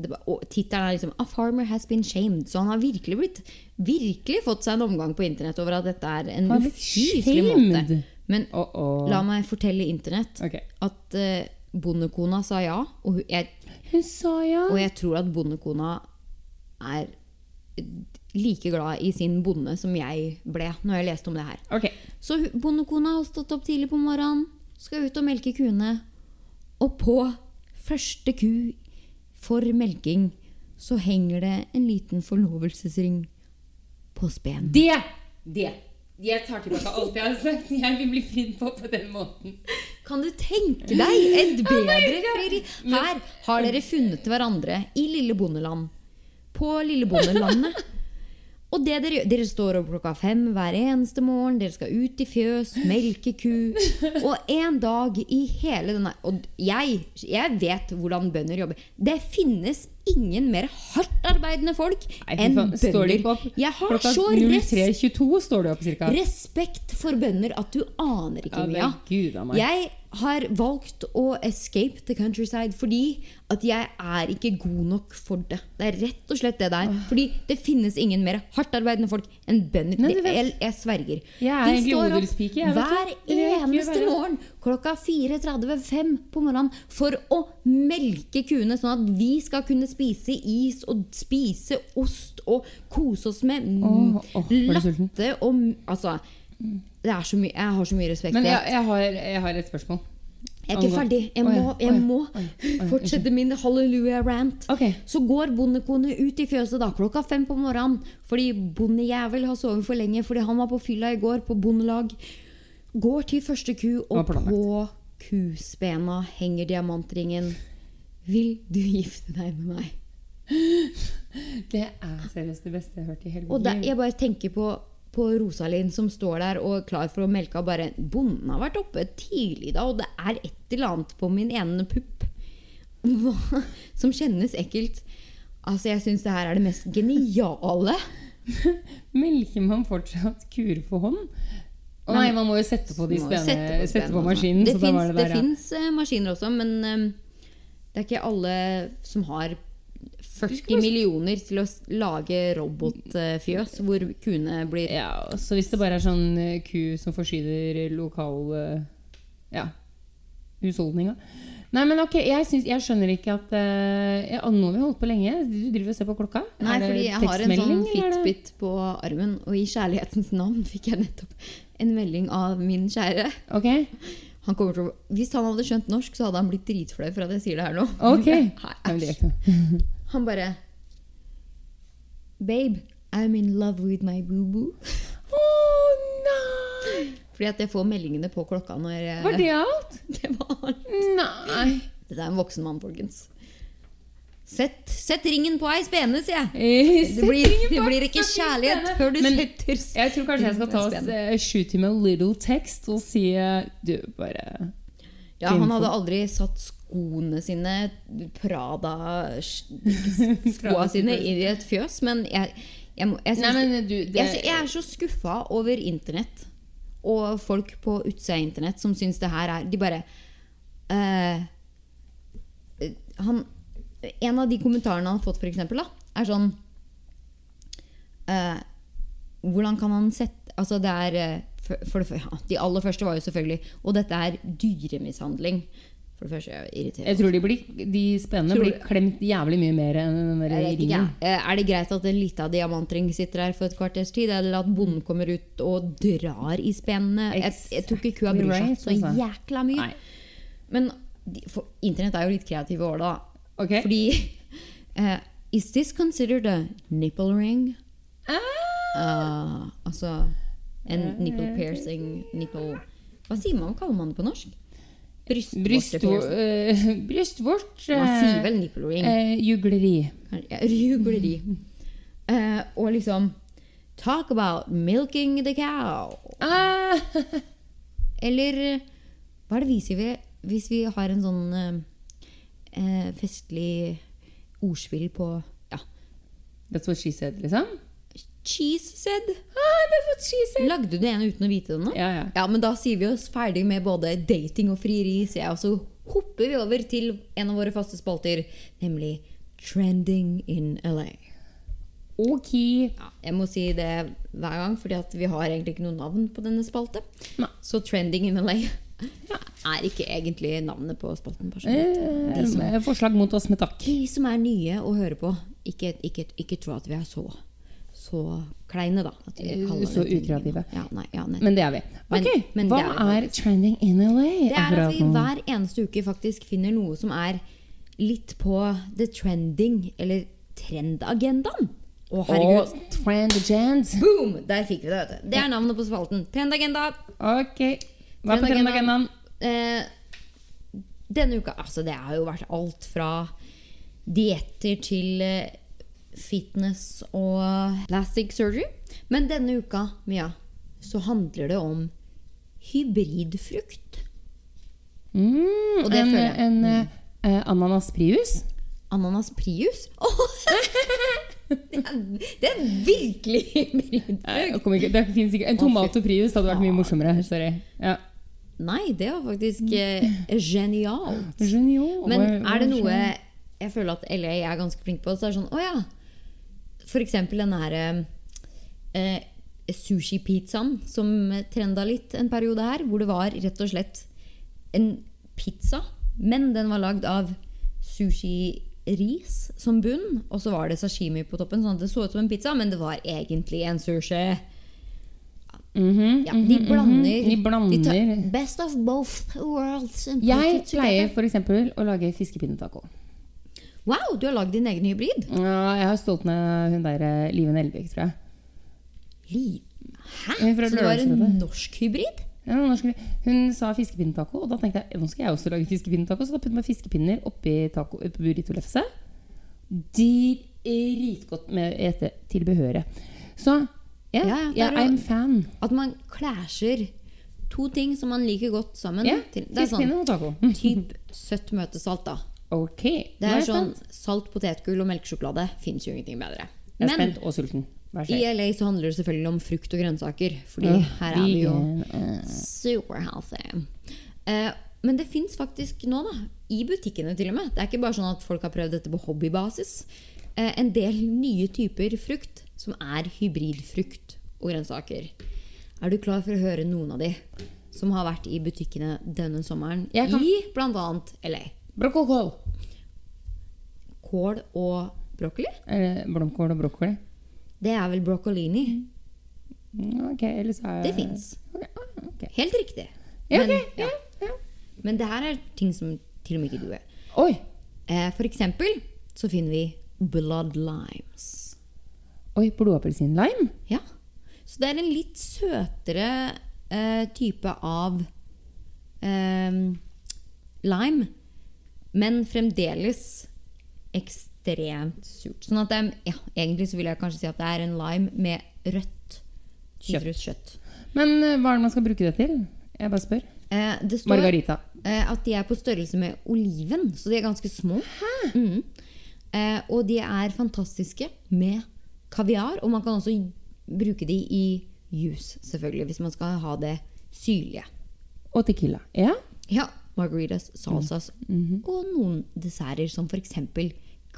Speaker 1: det var- og Tittelen er liksom 'A farmer has been shamed'. Så han har virkelig blitt Virkelig fått seg en omgang på internett over at dette er en
Speaker 2: Har blitt
Speaker 1: ufyselig
Speaker 2: shamed?
Speaker 1: måte. Men
Speaker 2: Å, å.
Speaker 1: la meg fortelle internett
Speaker 2: Ok.
Speaker 1: at eh, bondekona sa ja, og hun- jeg
Speaker 2: Hun sa ja.
Speaker 1: Og jeg tror at bondekona er like glad i sin bonde som jeg ble når jeg leste om det her.
Speaker 2: Ok.
Speaker 1: Så hu- bondekona har stått opp tidlig på morgenen, skal ut og melke kuene. Og på første ku for melking så henger det en liten forlovelsesring på spenen.
Speaker 2: Det! Det! Jeg tar tilbake alt jeg har sagt. Jeg vil bli fridd på på den måten.
Speaker 1: Kan du tenke deg et bedre frieri? Her har dere funnet hverandre i lille bondeland. På lille bondelandet. <laughs> Og det dere, gjør, dere står opp klokka fem hver eneste morgen, dere skal ut i fjøs, melke ku. Og en dag i hele denne Og jeg, jeg vet hvordan bønder jobber. Det finnes ingen mer hardtarbeidende folk
Speaker 2: Nei, fy
Speaker 1: enn
Speaker 2: faen, Står de ikke
Speaker 1: bønder.
Speaker 2: opp?
Speaker 1: Jeg har
Speaker 2: Klokka
Speaker 1: så res
Speaker 2: 03.22 står de opp cirka.
Speaker 1: respekt for bønder at du aner ikke
Speaker 2: Ja,
Speaker 1: mye
Speaker 2: men
Speaker 1: av.
Speaker 2: Gud a meg.
Speaker 1: Jeg har valgt å escape the countryside fordi at jeg er ikke god nok for det. Det er rett og slett det det er. Fordi det finnes ingen mer hardtarbeidende folk enn bønder.
Speaker 2: Nei, du
Speaker 1: Det-
Speaker 2: vet-
Speaker 1: jeg, jeg sverger.
Speaker 2: Jeg er
Speaker 1: De
Speaker 2: egentlig
Speaker 1: står opp
Speaker 2: odelspike, jeg, vet du.
Speaker 1: hver
Speaker 2: Det vil jeg ikke
Speaker 1: eneste
Speaker 2: være.
Speaker 1: morgen klokka 4.30-5 på morgenen for å melke kuene, sånn at vi skal kunne spise is og spise ost og kose oss med
Speaker 2: Åh, åh, ble du sulten?
Speaker 1: latte og Altså, det det er så mye, jeg har så mye respekt for
Speaker 2: Men
Speaker 1: det.
Speaker 2: jeg, jeg, har, jeg har et spørsmål.
Speaker 1: Jeg er ikke
Speaker 2: angå-
Speaker 1: ferdig. Jeg
Speaker 2: Å ja,
Speaker 1: må,
Speaker 2: å ja,
Speaker 1: jeg må
Speaker 2: å ja,
Speaker 1: <laughs>
Speaker 2: å ja,
Speaker 1: fortsette min hallelujah-rant.
Speaker 2: Ok.
Speaker 1: Så går bondekone ut i fjøset da klokka fem på morgenen fordi bondejævel har sovet for lenge fordi han var på fylla i går på bondelag. Går til første ku,
Speaker 2: var
Speaker 1: og
Speaker 2: planlagt.
Speaker 1: på kuspena henger diamantringen. Vil du gifte deg med meg?
Speaker 2: Det er seriøst det beste jeg har hørt i hele
Speaker 1: Og
Speaker 2: mitt
Speaker 1: da,
Speaker 2: liv.
Speaker 1: jeg bare tenker på, på Rosalind som står der og er klar for å melke. Og bare, Bonden har vært oppe tidlig i dag, og det er et eller annet på min ene pupp Hva- som kjennes ekkelt. Altså, Jeg syns det her er det mest geniale.
Speaker 2: Melker man fortsatt kuer for hånd? Å nei, man må jo sette på de
Speaker 1: Må
Speaker 2: spene, sette på,
Speaker 1: spennene, altså.
Speaker 2: maskinen.
Speaker 1: Det
Speaker 2: så da var det der, ja.
Speaker 1: fins maskiner også, men eh, det er ikke alle som har 40 millioner til å s- lage robotfjøs hvor kuene blir
Speaker 2: Ja, så hvis det bare er sånn eh, ku som forsyner lokal eh, ja, husholdninga. Nei, men ok, jeg, syns- jeg skjønner ikke at eh, ja, Nå har vi holdt på lenge. Du driver og ser på klokka?
Speaker 1: Nei,
Speaker 2: Er det
Speaker 1: fordi jeg har en sånn
Speaker 2: tekstmelding, eller er det-
Speaker 1: Fitbit på armen, og i kjærlighetens navn fikk jeg nettopp en melding av min kjære.
Speaker 2: Ok,
Speaker 1: Han kommer til å, hvis han hadde skjønt norsk, så hadde han blitt dritflau for at jeg sier det her nå.
Speaker 2: <laughs> ok.
Speaker 1: Nei,
Speaker 2: Nei, men
Speaker 1: æsj.
Speaker 2: det gjør
Speaker 1: <laughs>
Speaker 2: ikke noe.
Speaker 1: Han bare Babe, I'm in love with my boo-boo. <laughs>
Speaker 2: Å nei!
Speaker 1: Fordi at jeg får meldingene på klokka når jeg,
Speaker 2: Var det alt?
Speaker 1: <laughs> Det var alt.
Speaker 2: Nei.
Speaker 1: Dette er en voksen mann, folkens. Sett, sett ringen på ei spene, sier jeg!
Speaker 2: Eh,
Speaker 1: Det blir,
Speaker 2: settingen
Speaker 1: det
Speaker 2: på-
Speaker 1: blir ikke kjærlighet før du
Speaker 2: Men-
Speaker 1: setter
Speaker 2: Jeg tror kanskje jeg skal ta oss, eh, shoot him a little text og si eh, Du, bare
Speaker 1: Ja, han hadde aldri satt skoene sine,
Speaker 2: <laughs>
Speaker 1: Prada-skoa sine, i et fjøs. Men jeg, jeg, må- jeg,
Speaker 2: Nei,
Speaker 1: synes,
Speaker 2: men du,
Speaker 1: jeg, sy- jeg er så skuffa over internett og folk på utsida av internett som syns det her er De bare eh, eh, han, En av de kommentarene han har fått, for eksempel, da, er sånn eh, hvordan kan han sette Altså det er eh, for, for det, fø- ja, De aller første var jo selvfølgelig Og dette er dyremishandling. For det første er jeg irritert.
Speaker 2: Jeg tror de, blir, de spennende
Speaker 1: Tror-
Speaker 2: blir klemt jævlig mye mer enn den der
Speaker 1: Jeg vet ikke,
Speaker 2: ringen.
Speaker 1: jeg. Eh, Er det greit at en lita diamantring sitter her for et kvarters tid? Eller at bonden kommer ut og drar i spenene? Jeg, jeg tror ikke kua bryr seg så
Speaker 2: Exactly right, altså.
Speaker 1: jækla mye.
Speaker 2: Nei.
Speaker 1: Men de- for, internett er jo litt kreative år, da.
Speaker 2: Ok.
Speaker 1: Fordi <laughs> eh, Is this considered a nipple ring?
Speaker 2: Ah.
Speaker 1: Eh, altså en nipple piercing nipple Hva sier man, hva kaller man det på norsk?
Speaker 2: Brystvo-
Speaker 1: Brystvortepiercing.
Speaker 2: eh, Brystvort
Speaker 1: Man
Speaker 2: eh,
Speaker 1: sier vel nipple ring?
Speaker 2: eh, Jugleri.
Speaker 1: Ja, Jugleri. Eh, og liksom Talk about milking the cow.
Speaker 2: Ah,
Speaker 1: Eller hva er det vi sier vi- hvis vi har en sånn eh, eh, festlig ordspill på ja,
Speaker 2: that's what she said, liksom?
Speaker 1: Cheese said?
Speaker 2: Ah, that's what she said.
Speaker 1: Lagde du det ene uten å vite det nå?
Speaker 2: Ja, ja.
Speaker 1: Ja, men da sier vi oss ferdig med både dating og frieri, sier jeg, og så hopper vi over til en av våre faste spalter, nemlig Trending in LA.
Speaker 2: Ok.
Speaker 1: Ja, jeg må si det hver gang, fordi at vi har egentlig ikke noe navn på denne spalte.
Speaker 2: Nei.
Speaker 1: Så Trending in LA
Speaker 2: <laughs>
Speaker 1: er ikke egentlig navnet på spalten. bare så du vet.
Speaker 2: Eh, eh, forslag mot oss med takk.
Speaker 1: De som er nye å høre på, ikke, ikke, ikke tro at vi er så, så kleine, da. At vi
Speaker 2: Eh,
Speaker 1: kaller det
Speaker 2: så
Speaker 1: trending.
Speaker 2: ukreative.
Speaker 1: Ja, nei, ja, nei.
Speaker 2: Men det er vi.
Speaker 1: Men-
Speaker 2: Ok,
Speaker 1: men
Speaker 2: Hva
Speaker 1: det er vi
Speaker 2: er trending in LA?
Speaker 1: Det er at
Speaker 2: akkurat
Speaker 1: vi
Speaker 2: nå?
Speaker 1: hver eneste uke faktisk finner noe som er litt på the trending, eller trendagendaen. Å, herregud.
Speaker 2: Og trend agendas.
Speaker 1: Boom! Der fikk vi det, vet du. Det er navnet på spalten. Trendagenda.
Speaker 2: Ok. Hva er på
Speaker 1: Trendagendaen.
Speaker 2: trendagendaen?
Speaker 1: Eh, denne uka Altså, det har jo vært alt fra dietter til eh, fitness og plastic surgery. Men denne uka, Mia, så handler det om hybridfrukt.
Speaker 2: Mm,
Speaker 1: Og det
Speaker 2: en
Speaker 1: føler jeg.
Speaker 2: en eh, ananas prius?
Speaker 1: Ananas Prius? <laughs> Åh! det, er, det er virkelig hybrid.
Speaker 2: Nei, jeg kommer ikke, det finnes ikke. En tomat og prius hadde vært mye morsommere. Sorry. Ja.
Speaker 1: Nei, det var faktisk eh, genialt. Men er det noe jeg føler at LA er ganske flink på, så er det sånn Å ja. For eksempel den her eh, sushi-pizzaen som trenda litt en periode her, hvor det var rett og slett en pizza, men den var lagd av sushi-ris som bunn, og så var det sashimi på toppen, sånn at det så ut som en pizza, men det var egentlig en sushi.
Speaker 2: Mhm,
Speaker 1: Ja, de
Speaker 2: mhm, mhm.
Speaker 1: blander.
Speaker 2: De
Speaker 1: De tar
Speaker 2: blander.
Speaker 1: best of both worlds. and put
Speaker 2: Jeg
Speaker 1: it
Speaker 2: pleier
Speaker 1: together.
Speaker 2: for eksempel å lage fiskepinne-taco.
Speaker 1: Wow, du har lagd din egen hybrid?
Speaker 2: Ja, jeg har stolt med hun der eh, Live Nelvik, tror jeg.
Speaker 1: Li- Hæ?
Speaker 2: Hun er fra
Speaker 1: Så det var en
Speaker 2: Lørdagsrådet.
Speaker 1: norsk hybrid?
Speaker 2: Ja, nå skal vi- Hun sa fiskepinne-taco, og da tenkte jeg nå skal jeg også lage fiskepinne-taco. Så da putter man fiskepinner oppi taco, eh, oppi burrito-lefse. Dritgodt med dette tilbehøret. Så
Speaker 1: Ja,
Speaker 2: ja,
Speaker 1: ja, det
Speaker 2: ja,
Speaker 1: er jo-
Speaker 2: I'm fan.
Speaker 1: At man klasjer to ting som man liker godt sammen.
Speaker 2: Ja,
Speaker 1: til- det er sånn
Speaker 2: Fiskepinne og taco. Mm.
Speaker 1: <laughs> typ søtt møtesalt, da.
Speaker 2: Ok.
Speaker 1: Det
Speaker 2: nå
Speaker 1: er
Speaker 2: jeg
Speaker 1: sånn
Speaker 2: spent.
Speaker 1: salt, potetgull og melkesjokolade. Fins jo ingenting bedre.
Speaker 2: Jeg er
Speaker 1: Men
Speaker 2: spent og sulten. Vær så
Speaker 1: i
Speaker 2: snill.
Speaker 1: LA så handler det selvfølgelig om frukt og grønnsaker. Fordi her er vi jo
Speaker 2: eh,
Speaker 1: super healthy. Eh, men det fins faktisk nå, da. I butikkene til og med. Det er ikke bare sånn at folk har prøvd dette på hobbybasis. Eh, en del nye typer frukt som er hybridfrukt og grønnsaker. Er du klar for å høre noen av de som har vært i butikkene denne sommeren
Speaker 2: Jeg kan-
Speaker 1: i bl.a. LA?
Speaker 2: Brokkokål.
Speaker 1: Kål og brokkoli?
Speaker 2: Eller blomkål og brokkoli.
Speaker 1: Det er vel broccolini?
Speaker 2: Mm, Ok, eller så er
Speaker 1: Det fins.
Speaker 2: Ok, ah, ok.
Speaker 1: Helt riktig.
Speaker 2: Ja, ok,
Speaker 1: Men, ja.
Speaker 2: ja, ja.
Speaker 1: men det her er ting som til og med ikke du er.
Speaker 2: Oi!
Speaker 1: Eh, for eksempel så finner vi blood limes.
Speaker 2: Oi, Blodappelsin-lime?
Speaker 1: Ja. Så det er en litt søtere eh, type av eh, lime, men fremdeles ekstremt surt. Sånn at det er, ja, egentlig så vil jeg kanskje si at det er en lime med rødt sitrus kjøtt.
Speaker 2: Men eh, hva er det man skal bruke det til? Jeg bare spør.
Speaker 1: Eh, det står
Speaker 2: Margarita.
Speaker 1: eh, at de er på størrelse med oliven, så de er ganske små. Mm. Eh, og de er fantastiske med kaviar, og man kan også bruke de i juice, selvfølgelig, hvis man skal ha det syrlige.
Speaker 2: Og tequila. Ja? Mm. Mm-hmm.
Speaker 1: Ja, margaritas, salsas og noen desserter som f.eks.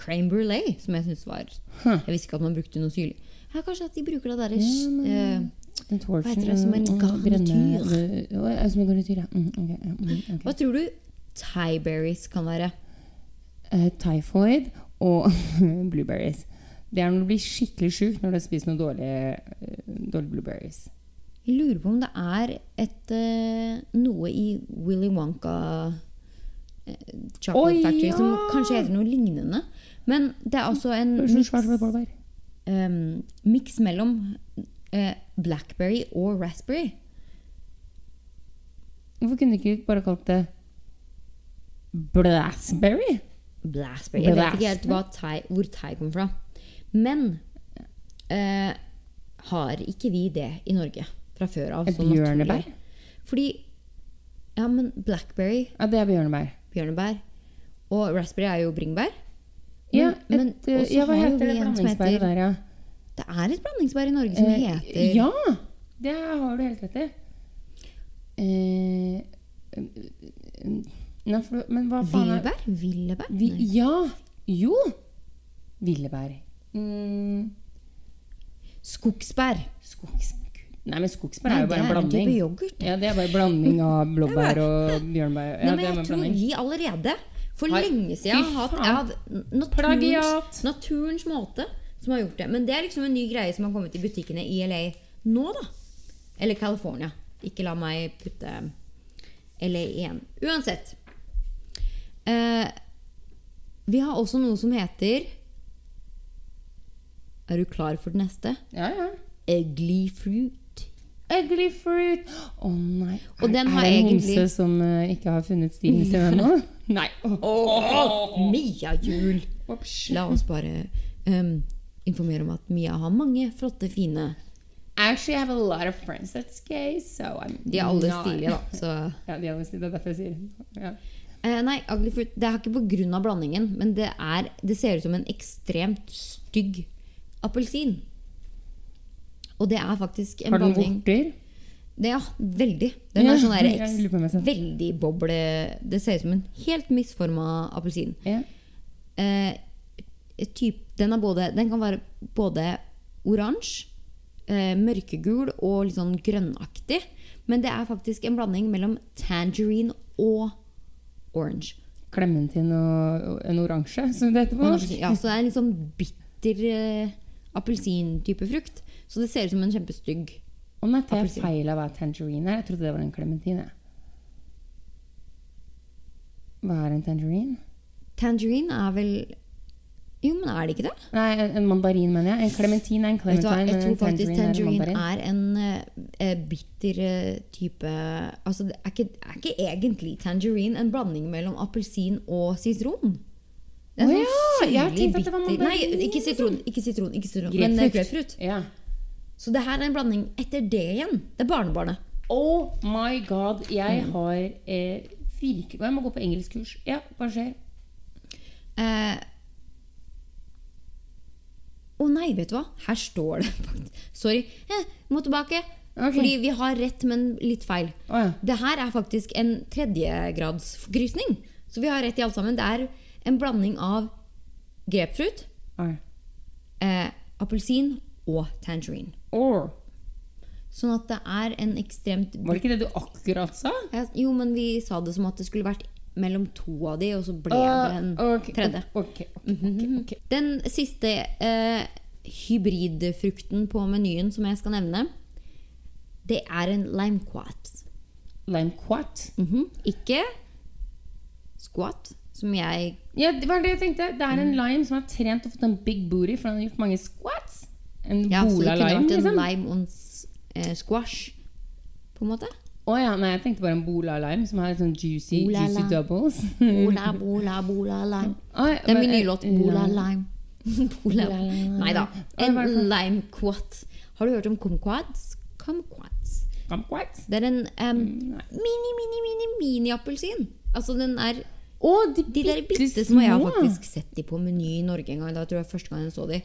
Speaker 1: crème brulé, som jeg syns var
Speaker 2: Huh.
Speaker 1: Jeg visste ikke at man brukte noe syrlig. Ja, kanskje at de bruker det derre
Speaker 2: Ja, men-
Speaker 1: eh,
Speaker 2: Den torsen,
Speaker 1: Hva heter det? Som en
Speaker 2: mm,
Speaker 1: garnityr.
Speaker 2: grønne- Å, ja, Som en garnityr, ja. Mm, ok, ja, mm, ok.
Speaker 1: Hva tror du thaiberries kan være?
Speaker 2: Eh, typhoid og <laughs> blueberries. Det er når du blir skikkelig sjuk når du har spist noen dårlige, eh, dårlige blueberries.
Speaker 1: Jeg lurer på om det er et eh, noe i Willy Wonka eh, Chocolate
Speaker 2: Oi,
Speaker 1: Factory som
Speaker 2: ja!
Speaker 1: kanskje heter noe lignende. Men det er altså en
Speaker 2: Det er så
Speaker 1: miks,
Speaker 2: svært med blåbær.
Speaker 1: em, miks mellom eh, blackberry og raspberry.
Speaker 2: Hvorfor kunne du ikke bare kalt det Blassberry?
Speaker 1: Blaspberry. Jeg vet
Speaker 2: Blaspberry.
Speaker 1: ikke helt hva thai, hvor thai kommer fra. Men eh, har ikke vi det i Norge fra før av?
Speaker 2: Et
Speaker 1: så naturlig?
Speaker 2: bjørnebær?
Speaker 1: Fordi Ja, men blackberry
Speaker 2: Ja, det er bjørnebær.
Speaker 1: bjørnebær. Og raspberry er jo bringebær.
Speaker 2: Ja,
Speaker 1: Men-
Speaker 2: et,
Speaker 1: men
Speaker 2: eh,
Speaker 1: også
Speaker 2: ja,
Speaker 1: har
Speaker 2: hva
Speaker 1: jo
Speaker 2: heter det
Speaker 1: vi en som
Speaker 2: blandingsbæret
Speaker 1: heter-
Speaker 2: der, ja?
Speaker 1: Det er et blandingsbær i Norge som
Speaker 2: Eh,
Speaker 1: heter
Speaker 2: Ja! Det har du helt rett i. Eh, eh, nei, for, men hva faen er
Speaker 1: Villebær? Villebær?
Speaker 2: Vi,
Speaker 1: Nei.
Speaker 2: ja! Jo! Villebær. Mm,
Speaker 1: Skogsbær.
Speaker 2: skogs... Nei, men skogsbær
Speaker 1: Nei,
Speaker 2: er jo
Speaker 1: det
Speaker 2: bare en
Speaker 1: er en type
Speaker 2: blanding.
Speaker 1: yoghurt.
Speaker 2: Ja, det er bare en
Speaker 1: <laughs>
Speaker 2: blanding av blåbær og bjørnebær.
Speaker 1: Nei,
Speaker 2: Ja,
Speaker 1: men
Speaker 2: det er bare
Speaker 1: jeg
Speaker 2: en
Speaker 1: tror
Speaker 2: blanding.
Speaker 1: vi allerede for
Speaker 2: Har-
Speaker 1: lenge
Speaker 2: Fy
Speaker 1: siden har hatt
Speaker 2: faen.
Speaker 1: jeg har hatt naturens,
Speaker 2: Plagiat.
Speaker 1: naturens måte som har gjort det. Men det er liksom en ny greie som har kommet i butikkene i LA nå, da. Eller California. Ikke la meg putte LA igjen. Uansett. Eh, vi har også noe som heter Er du klar for det neste?
Speaker 2: Ja, ja.
Speaker 1: Ugly fruit.
Speaker 2: Ugly fruit. Å nei.
Speaker 1: Og den har
Speaker 2: er det en
Speaker 1: egentlig-
Speaker 2: homse som eh, ikke har funnet stilen sin
Speaker 1: <laughs>
Speaker 2: ennå? nei.
Speaker 1: Mia Jul! La oss bare ehm, informere om at Mia har mange flotte, fine
Speaker 2: Actually, I have a lot of friends that's gay, so I'm
Speaker 1: De er alle
Speaker 2: not-
Speaker 1: stilige, da. Så.
Speaker 2: Ja, de er alle stilige, det er derfor jeg sier ja.
Speaker 1: <laughs> Eh, nei, ugly fruit Det er ikke pga. blandingen, men det, er, det ser ut som en ekstremt stygg appelsin. Og det er faktisk en
Speaker 2: Har den
Speaker 1: blanding
Speaker 2: vorter?
Speaker 1: det, Ja, veldig. Den er
Speaker 2: Ja,
Speaker 1: sånn der
Speaker 2: <laughs> jeg lurer på om jeg
Speaker 1: eks-
Speaker 2: ser.
Speaker 1: veldig boble Det ser ut som en helt misforma appelsin.
Speaker 2: Ja.
Speaker 1: eh, typ, den, er både, den kan være både oransje, eh, mørkegul og litt sånn grønnaktig. Men det er faktisk en blanding mellom tangerine og orange.
Speaker 2: Clementin og, og en oransje, som det heter på
Speaker 1: Og en
Speaker 2: norsk.
Speaker 1: appelsin- Ja, så det er en litt sånn bitter eh, appelsintype frukt. Så det ser ut som en kjempestygg
Speaker 2: Å nei, tar jeg
Speaker 1: Appelsin.
Speaker 2: feil av hva tangerine er? Jeg trodde det var en klementin. jeg. Hva er en tangerine?
Speaker 1: Tangerine er vel Jo, men er det ikke det?
Speaker 2: Nei, en, en mandarin, mener jeg. En klementin er en
Speaker 1: Vet du hva,
Speaker 2: clementine,
Speaker 1: jeg
Speaker 2: men
Speaker 1: tror
Speaker 2: en
Speaker 1: faktisk
Speaker 2: tangerine,
Speaker 1: tangerine
Speaker 2: er en mandarin.
Speaker 1: er en eh, bitter eh, type Altså, det er ikke, er ikke egentlig tangerine en blanding mellom appelsin og sitron? Det er
Speaker 2: Å
Speaker 1: en
Speaker 2: ja, jeg
Speaker 1: syrlig
Speaker 2: tenkte at det var
Speaker 1: bitter-
Speaker 2: mandarin, liksom.
Speaker 1: Nei, ikke sitron, ikke sitron, ikke sitron men eh, grapefruit.
Speaker 2: Ja.
Speaker 1: Så det her er en blanding etter det igjen. Det er barnebarnet.
Speaker 2: Oh my god, jeg
Speaker 1: Mm.
Speaker 2: har eh, virke... Jeg må gå på engelskkurs. Ja, hva skjer?
Speaker 1: Eh, Å nei, vet du hva? Her står det <laughs> faktisk Sorry. Eh, må tilbake.
Speaker 2: Ok.
Speaker 1: Fordi vi har rett, men litt feil.
Speaker 2: Å ja.
Speaker 1: Det her er faktisk en tredjegradsforgrysning. Så vi har rett i alt sammen. Det er en blanding av grepfrukt,
Speaker 2: Or.
Speaker 1: eh, appelsin og tangerine.
Speaker 2: Or.
Speaker 1: Sånn at det er en ekstremt
Speaker 2: Var det ikke det du akkurat sa?
Speaker 1: Ja, Jo, men vi sa det som at det skulle vært mellom to av de, og så ble det en
Speaker 2: Å, Ah, ok,
Speaker 1: tredje.
Speaker 2: Ok, ok, ok, ok.
Speaker 1: Den siste eh, hybridfrukten på menyen som jeg skal nevne, det er en limequat. Mhm.
Speaker 2: Lime quat.
Speaker 1: Ikke squat, som jeg
Speaker 2: Ja, det var det jeg tenkte. Det
Speaker 1: Mm.
Speaker 2: er en lime som har trent og fått en big booty, for den har gjort mange squats. En
Speaker 1: Ja, så det
Speaker 2: bola
Speaker 1: kunne vært
Speaker 2: lime,
Speaker 1: en
Speaker 2: liksom.
Speaker 1: lime og en s- eh, squash, på en måte.
Speaker 2: Å ja, nei, jeg tenkte bare en bola lime, som har litt sånn juicy,
Speaker 1: Bola
Speaker 2: juicy
Speaker 1: lime.
Speaker 2: doubles. <laughs>
Speaker 1: Bola, bola, bola, lime.
Speaker 2: Oi,
Speaker 1: Det er min
Speaker 2: Mm. men- eh,
Speaker 1: nye låt. Bola, lime. <laughs> bola, Nei da. En
Speaker 2: Hva er sånn. det for-
Speaker 1: limequat. Har du hørt om kumquats? Kumquats.
Speaker 2: Come quats.
Speaker 1: Det er en em,
Speaker 2: Mm, Nei.
Speaker 1: mini, mini, mini, mini-appelsin. Altså den er
Speaker 2: Å, de,
Speaker 1: De der bitte små. Jeg har faktisk sett de på Meny i Norge en gang. Da tror jeg første gang jeg så de.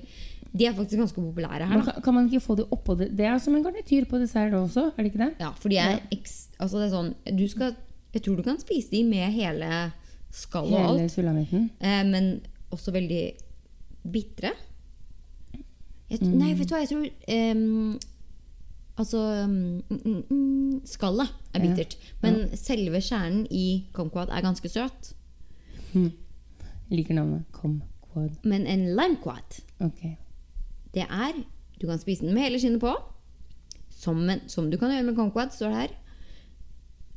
Speaker 1: De er faktisk ganske populære her.
Speaker 2: Men
Speaker 1: da.
Speaker 2: kan, kan man ikke få det oppå det? Det er som en garnityr på dessert også, er det ikke det?
Speaker 1: Ja, for de er eks... Altså det er sånn du skal, Jeg tror du kan spise de med hele skallet og
Speaker 2: Hele
Speaker 1: alt.
Speaker 2: sulamitten.
Speaker 1: Eh, men også veldig bitre. Jeg, t-
Speaker 2: Mm.
Speaker 1: Nei, vet du hva, jeg tror em, Altså mm, mm, mm, Skallet er
Speaker 2: Ja.
Speaker 1: bittert. Men selve kjernen i kumquat er ganske søt.
Speaker 2: Liker navnet. Come quad.
Speaker 1: Men en limequat
Speaker 2: Ok.
Speaker 1: Det er Du kan spise den med hele skinnet på. Som, en, som du kan gjøre med conquad, står det her.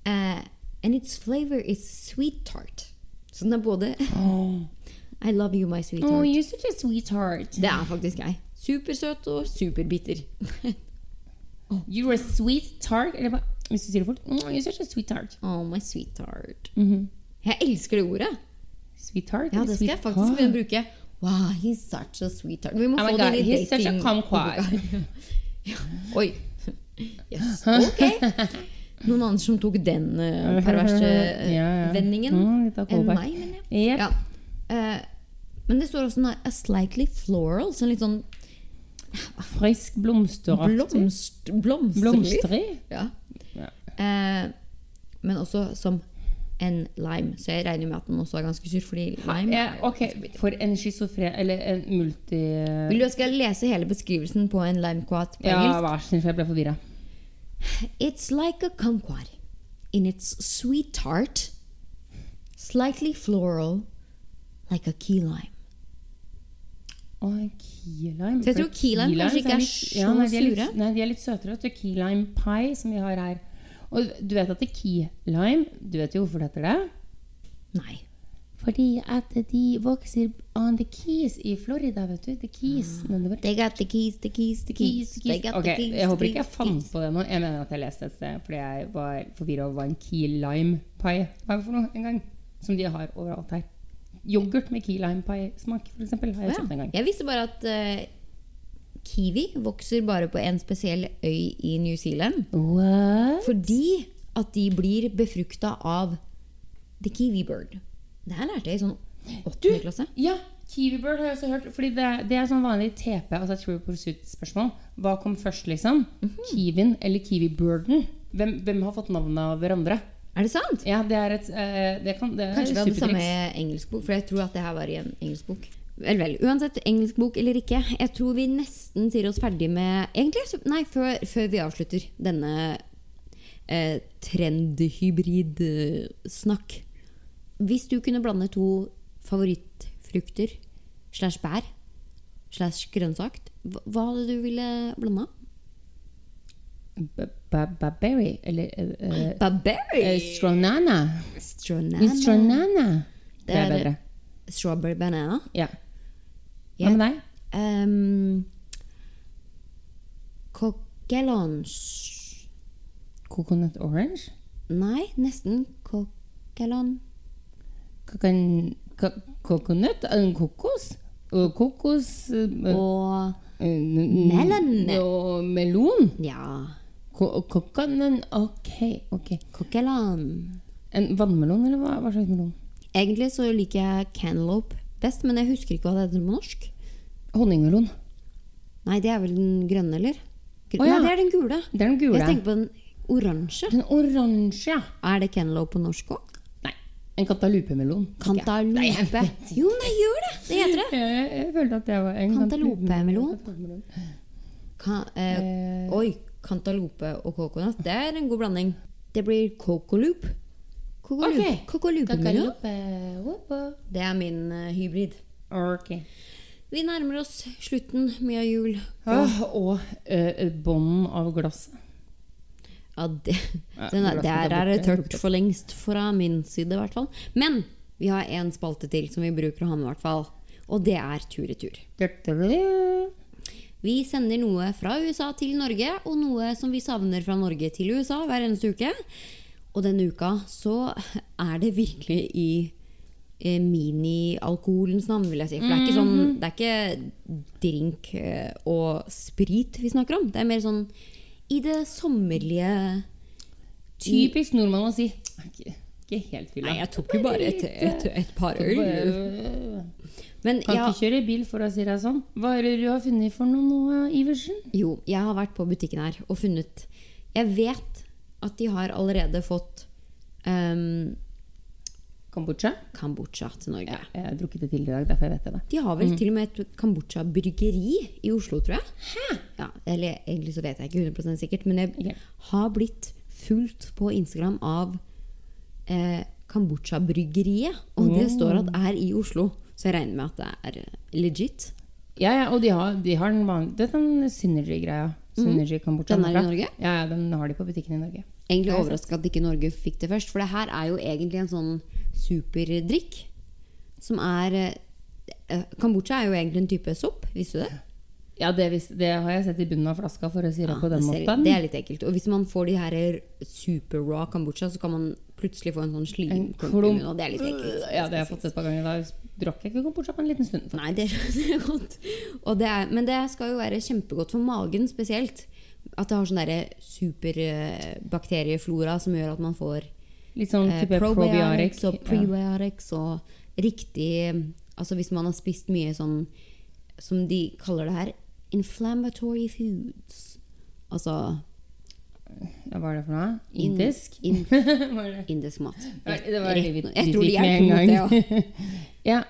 Speaker 1: Eh, and its flavor is sweet tart. Så den er både <laughs>
Speaker 2: Oh.
Speaker 1: I love you, my sweet
Speaker 2: oh,
Speaker 1: tart.
Speaker 2: you're such a sweetheart.
Speaker 1: Det er faktisk jeg. Supersøt og superbitter. <laughs>
Speaker 2: You're a sweetheart. Eller hva? Hvis du sier det fort. Oh, you're such a sweetheart.
Speaker 1: Oh, my sweet tart.
Speaker 2: Mhm.
Speaker 1: Jeg elsker det ordet.
Speaker 2: Sweetheart?
Speaker 1: Ja,
Speaker 2: eller
Speaker 1: det skal jeg faktisk begynne å bruke. Wow, he's such a sweet tart. Vi må
Speaker 2: Oh my
Speaker 1: få
Speaker 2: God,
Speaker 1: det litt
Speaker 2: he's such a
Speaker 1: dating-
Speaker 2: kumquat. <laughs>
Speaker 1: Ja. Oi. Yes. Ok. Noen andre som tok den eh, perverse eh,
Speaker 2: <laughs> Ja, ja.
Speaker 1: vendingen
Speaker 2: Mm, litt av
Speaker 1: enn
Speaker 2: callback.
Speaker 1: meg, mener jeg.
Speaker 2: Yep.
Speaker 1: Ja. Eh, men det står også noe a slightly floral, sånn litt sånn
Speaker 2: Frisk blomsteraktig.
Speaker 1: blomst, blomsterlig.
Speaker 2: Blomstrig?
Speaker 1: Ja.
Speaker 2: Ja.
Speaker 1: Eh, men også som en lime, så jeg regner med at den også er ganske sur, fordi lime
Speaker 2: Ja, ok, for en schizofren Eller en multi...
Speaker 1: Vil du jeg skal lese hele beskrivelsen på en limequat på
Speaker 2: Ja,
Speaker 1: engelsk?
Speaker 2: vær så snill, for jeg ble forvirra.
Speaker 1: It's like a kumquat in its sweet tart, slightly floral, like a key lime.
Speaker 2: Å, en key lime.
Speaker 1: Så jeg
Speaker 2: For
Speaker 1: tror key lime kanskje ikke
Speaker 2: limes
Speaker 1: er
Speaker 2: litt-
Speaker 1: så sure.
Speaker 2: nei, de er Litt, nei, de er litt søtere. vet du. Key lime pie, som vi har her. Og du vet at det er key lime Du vet jo hvorfor det heter det?
Speaker 1: Nei.
Speaker 2: Fordi at de vokser on the keys i Florida, vet du. The keys. nedover.
Speaker 1: They got the keys, the keys, the Ah. keys.
Speaker 2: Keys,
Speaker 1: They
Speaker 2: keys.
Speaker 1: got
Speaker 2: Ok,
Speaker 1: the keys,
Speaker 2: jeg
Speaker 1: the
Speaker 2: håper ikke jeg
Speaker 1: keys,
Speaker 2: fant
Speaker 1: keys.
Speaker 2: på det nå. Jeg mener at jeg leste et sted fordi jeg var forvirra over hva en key lime pie var for noe en gang. Som de har overalt her. Yoghurt med key lime pie-smak, f.eks. har jeg
Speaker 1: Å
Speaker 2: kjøpt
Speaker 1: ja.
Speaker 2: en gang.
Speaker 1: Jeg visste bare at eh, kiwi vokser bare på en spesiell øy i New Zealand.
Speaker 2: What?
Speaker 1: Fordi at de blir befrukta av the kiwi bird. Det her lærte jeg i sånn
Speaker 2: Du,
Speaker 1: åttende klasse.
Speaker 2: ja, Kiwibird har jeg også hørt. Fordi det, er- det er sånn vanlig TP, altså True Pursuit-spørsmål. Hva kom først, liksom?
Speaker 1: Mhm.
Speaker 2: Kiwin eller Kiwibirden? Hvem, hvem har fått navnet av hverandre?
Speaker 1: Er det sant?
Speaker 2: Ja, det er et eh, det kan, det er
Speaker 1: Kanskje vi hadde samme
Speaker 2: supertriks.
Speaker 1: engelskbok, for jeg tror at det her var i en engelskbok. Vel, vel. Uansett, engelskbok eller ikke, jeg tror vi nesten sier oss ferdig med Egentlig, så- nei, før, før vi avslutter denne eh, trendhybrid-snakk. Hvis du kunne blande to favorittfrukter slash bær slash grønnsak, hva hva hadde du ville blanda?
Speaker 2: Babberry Eller eh, eh, eh,
Speaker 1: Barberry!
Speaker 2: Stronana.
Speaker 1: Eh, Stronana.
Speaker 2: Stronana. Det
Speaker 1: Det
Speaker 2: er
Speaker 1: er-
Speaker 2: bedre.
Speaker 1: Strawberry banana.
Speaker 2: Ja.
Speaker 1: Ja.
Speaker 2: Hva med deg?
Speaker 1: Um, coquelange.
Speaker 2: Coconut orange?
Speaker 1: Nei, nesten coquelon.
Speaker 2: Kokon, ko, coconut? eh, Kokos? Og kokos eh,
Speaker 1: Og
Speaker 2: eh, n- n-
Speaker 1: melon.
Speaker 2: Og melon?
Speaker 1: ja,
Speaker 2: Ko- Coconut Ok, ok.
Speaker 1: coquelon.
Speaker 2: En vannmelon, eller hva, hva slags melon?
Speaker 1: Egentlig så liker jeg cantaloupe best, men jeg husker ikke hva det heter på norsk.
Speaker 2: Honningmelon.
Speaker 1: Nei, det er vel den grønne, eller? Grønne.
Speaker 2: Å, ja.
Speaker 1: Nei, det er den gule.
Speaker 2: Det er den
Speaker 1: Jeg
Speaker 2: gule.
Speaker 1: tenker på den oransje.
Speaker 2: Den oransje, ja.
Speaker 1: Er det cantaloupe på norsk òg?
Speaker 2: Nei. En kantalupemelon. tenker jeg. Nei, jeg
Speaker 1: Cantaloupe.
Speaker 2: vet
Speaker 1: Jo, nei, gjør det! Det heter det.
Speaker 2: Jeg, jeg følte at jeg var en
Speaker 1: Cantaloupemelon.
Speaker 2: kantalupemelon.
Speaker 1: Ka eh,
Speaker 2: Eh,
Speaker 1: oi, cantaloupe og coconut, det er en god blanding. Det blir cocoloop. Cocoloop.
Speaker 2: Ok.
Speaker 1: Cocoloop-melon.
Speaker 2: eh, Kakalupe-
Speaker 1: Det er min eh, hybrid.
Speaker 2: Ok.
Speaker 1: Vi nærmer oss slutten med jul.
Speaker 2: Åh, Ah, og eh, bånden av glasset.
Speaker 1: Ja, det,
Speaker 2: Ja,
Speaker 1: den er,
Speaker 2: glasset er
Speaker 1: der er det
Speaker 2: borte.
Speaker 1: tørt for lengst fra min side, i hvert fall. Men vi har én spalte til som vi bruker å ha med, i hvert fall. Og det er tur-retur. Vi sender noe fra USA til Norge, og noe som vi savner fra Norge til USA hver eneste uke. Og denne uka så er det virkelig i eh, mini-alkoholens navn, vil jeg si. For det er ikke, sånn,
Speaker 2: Mhm.
Speaker 1: det er ikke drink eh, og sprit vi snakker om. Det er mer sånn i det sommerlige
Speaker 2: Typisk nordmann å si. Ikke, ikke helt fylla.
Speaker 1: Nei, jeg tok jo bare et, et, et par øl.
Speaker 2: Bare-
Speaker 1: Men
Speaker 2: Kan
Speaker 1: ja,
Speaker 2: ikke kjøre bil, for å si det sånn. Hva er det du har funnet for noe nå, Iversen?
Speaker 1: Jo, jeg har vært på butikken her og funnet Jeg vet at de har allerede fått um,
Speaker 2: Kambodsja?
Speaker 1: Kambodsja til Norge.
Speaker 2: Ja, jeg har drukket det til i dag, derfor jeg vet jeg det.
Speaker 1: De har vel til og med et Kambodsja-bryggeri i Oslo, tror jeg. Ja, eller egentlig så vet jeg ikke 100 sikkert, men jeg
Speaker 2: Ok.
Speaker 1: har blitt fulgt på Instagram av eh, Kambodsja-bryggeriet. Og det står at er i Oslo, så jeg regner med at det er eh, legit.
Speaker 2: Ja, ja, og de har, de har den vanlige Det er den Synergy-greia. Synergy Kambodsja.
Speaker 1: Mhm. Den er i
Speaker 2: bra.
Speaker 1: Norge?
Speaker 2: Ja, ja, den har de på butikken i Norge.
Speaker 1: Egentlig overraska at ikke Norge fikk det først, for det her er jo egentlig en sånn superdrikk. Som er eh, Kambodsja er jo egentlig en type sopp, visste du det?
Speaker 2: Ja, det, vis, det har jeg sett i bunnen av flaska, for å si det på den
Speaker 1: Ah, det, ser-
Speaker 2: måten.
Speaker 1: det er litt ekkelt. Og hvis man får de her super-raw Kambodsja, så kan man plutselig få en sånn
Speaker 2: En
Speaker 1: slimklump i
Speaker 2: klump. Øh,
Speaker 1: munnen, og det er litt ekkelt.
Speaker 2: Ja, det har jeg fått et par ganger. Da drakk jeg ikke kombucha på en liten stund.
Speaker 1: Nei, <laughs> det skjønner jeg godt. Og det er, men det skal jo være kjempegodt for magen spesielt. At det har sånn derre superbakterieflora som gjør at man får
Speaker 2: Litt sånn
Speaker 1: Eh,
Speaker 2: type probiotics.
Speaker 1: probiotics og prebiotics og riktig Altså hvis man har spist mye sånn som de kaller det her inflammatory foods. Altså
Speaker 2: ja, hva er det for noe? Indisk? <laughs>
Speaker 1: in,
Speaker 2: Hva er det?
Speaker 1: indisk mat.
Speaker 2: Nei, det var
Speaker 1: Rett-
Speaker 2: litt
Speaker 1: rett- Jeg tror de
Speaker 2: dritt med
Speaker 1: er to mot det òg.
Speaker 2: <laughs> ja,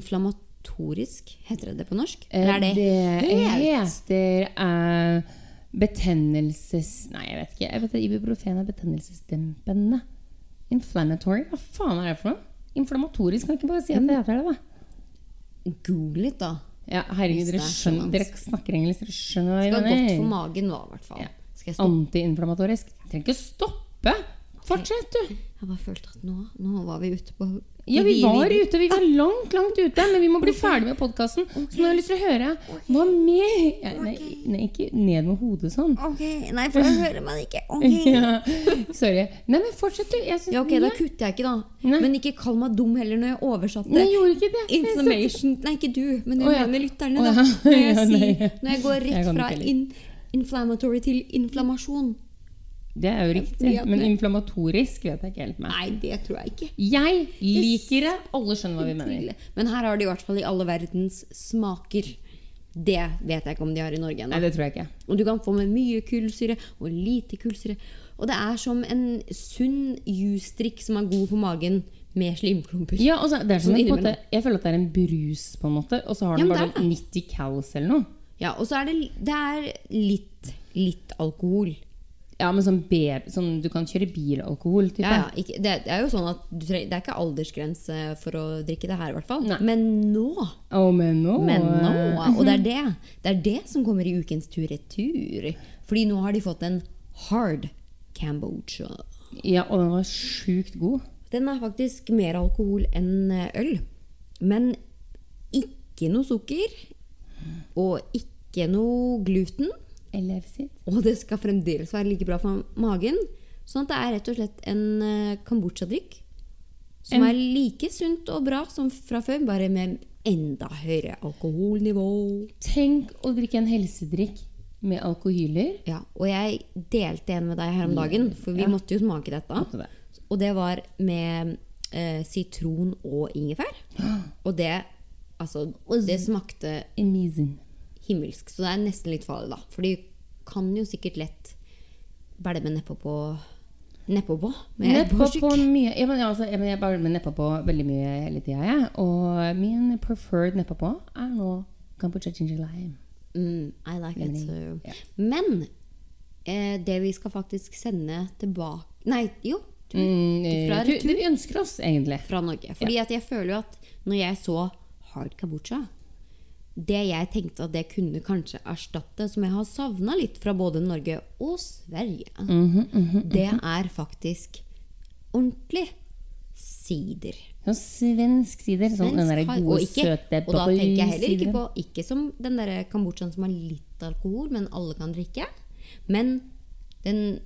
Speaker 1: inflammatorisk, heter det det på norsk?
Speaker 2: eh,
Speaker 1: Eller er det, helt
Speaker 2: heter eh, betennelses... Nei, jeg vet ikke. Jeg vet at Ibuprofen er betennelsesdempende. Inflammatory? Hva faen er det for noe? Inflammatorisk? Kan jeg ikke bare si at det heter det, da?
Speaker 1: Google litt, da.
Speaker 2: Ja,
Speaker 1: Hvis
Speaker 2: herregud,
Speaker 1: det er
Speaker 2: dere skjønner
Speaker 1: sånn,
Speaker 2: Dere snakker engelsk, dere skjønner hva
Speaker 1: Det
Speaker 2: jeg
Speaker 1: var godt for
Speaker 2: mener.
Speaker 1: magen nå, i hvert fall.
Speaker 2: Ja.
Speaker 1: Skal jeg stoppe?
Speaker 2: Antiinflammatorisk. Jeg trenger ikke stoppe! Fortsett, du!
Speaker 1: Jeg bare følte at nå, nå var vi ute på
Speaker 2: Ja, vi var
Speaker 1: videre.
Speaker 2: ute. Vi var langt, langt ute. Men vi må bli ferdig med podkasten. Så nå har jeg lyst til å høre hva mer Ja, Nei, nei ikke ned med hodet sånn.
Speaker 1: Ok, Nei, for da hører man ikke. Ok.
Speaker 2: <laughs> Ja, sorry. Nei, men fortsett, du. Jeg syns
Speaker 1: Ja, ok, Da kutter jeg ikke, da.
Speaker 2: Nei.
Speaker 1: Men ikke kall meg dum heller når jeg oversatte.
Speaker 2: Nei, jeg gjorde ikke det. Jeg satt-
Speaker 1: Inflammation Nei, ikke du, men jeg
Speaker 2: Å, ja.
Speaker 1: mener lytterne.
Speaker 2: Å, ja.
Speaker 1: Da. Når, jeg
Speaker 2: <laughs> Ja, nei.
Speaker 1: sier, når jeg går
Speaker 2: Jeg
Speaker 1: rett
Speaker 2: kan
Speaker 1: fra
Speaker 2: ikke heller.
Speaker 1: in inflammatory til inflammasjon.
Speaker 2: Det er jo riktig.
Speaker 1: Ja,
Speaker 2: Men
Speaker 1: det-
Speaker 2: inflammatorisk vet jeg ikke helt med.
Speaker 1: Nei, det tror jeg ikke.
Speaker 2: Jeg liker det. Alle skjønner hva vi mener.
Speaker 1: Men her har de i hvert fall i alle verdens smaker. Det vet jeg ikke om de har i Norge ennå.
Speaker 2: Nei, det tror jeg ikke.
Speaker 1: Og du kan få med mye kullsyre og lite kullsyre. Og det er som en sunn juice-drikk som er god for magen, med slimklumper.
Speaker 2: Ja, altså, det er som
Speaker 1: Sånn
Speaker 2: en, på en måte,
Speaker 1: innimellom.
Speaker 2: jeg føler at det er en brus, på en måte, og så
Speaker 1: Ja,
Speaker 2: har den
Speaker 1: men
Speaker 2: bare
Speaker 1: det er
Speaker 2: sånn 90 cals eller noe.
Speaker 1: Ja, og så er det, det er litt, litt alkohol
Speaker 2: Ja, men sånn, baby, sånn du kan kjøre bilalkohol, type.
Speaker 1: Ja, ja. Ikke, det, det er jo sånn at du treng, det er ikke aldersgrense for å drikke det her, i hvert fall.
Speaker 2: Nei.
Speaker 1: Men nå!
Speaker 2: Å, men nå
Speaker 1: Men nå! Og det er det. Det er det som kommer i ukens tur-retur. Fordi nå har de fått en hard Cambodia.
Speaker 2: Ja, og den var sjukt god.
Speaker 1: Den er faktisk mer alkohol enn eh, øl. Men ikke noe sukker. Og ikke noe gluten.
Speaker 2: Eller sitt.
Speaker 1: Og det skal fremdeles være like bra for magen. Sånn at det er rett og slett en eh, kombucha-drikk som
Speaker 2: En-
Speaker 1: er like sunt og bra som fra før, bare med enda høyere alkoholnivå.
Speaker 2: Tenk å drikke en helsedrikk med alkohyler.
Speaker 1: Ja, og jeg delte en med deg her om dagen, for vi
Speaker 2: Mm. Ja.
Speaker 1: måtte jo smake
Speaker 2: Måtte
Speaker 1: dette.
Speaker 2: det.
Speaker 1: Og det var med eh, sitron og ingefær.
Speaker 2: <gasps>
Speaker 1: Og det Altså, det smakte
Speaker 2: Amazing.
Speaker 1: himmelsk, så det er nesten litt farlig, da. For de kan jo sikkert lett bælme nedpå på Nedpå på? med
Speaker 2: Nedpå
Speaker 1: borsyk.
Speaker 2: på mye ja, men, ja, altså, ja, men Jeg bare med nedpå på veldig mye hele tida, jeg. Og min preferred nedpå på er nå Kambodsja ginger lime.
Speaker 1: Mm, I like it
Speaker 2: Lemonade,
Speaker 1: too.
Speaker 2: ja.
Speaker 1: Men eh, det vi skal faktisk sende tilbake Nei, jo.
Speaker 2: Mm,
Speaker 1: fra
Speaker 2: eh, du, du ønsker oss, egentlig.
Speaker 1: fra Norge. Fordi at jeg føler jo at når jeg så Hard Kabucha Det jeg tenkte at det kunne kanskje erstatte, som jeg har savna litt fra både Norge og Sverige,
Speaker 2: Mhm,
Speaker 1: det er faktisk ordentlig sider.
Speaker 2: Sånn svensk sider. Sånn den der
Speaker 1: Svensk har-
Speaker 2: gode,
Speaker 1: og ikke-
Speaker 2: søte
Speaker 1: Og da tenker jeg heller ikke
Speaker 2: boy-sideren.
Speaker 1: på Ikke som den der kombuchaen som har litt alkohol, men alle kan drikke. Men den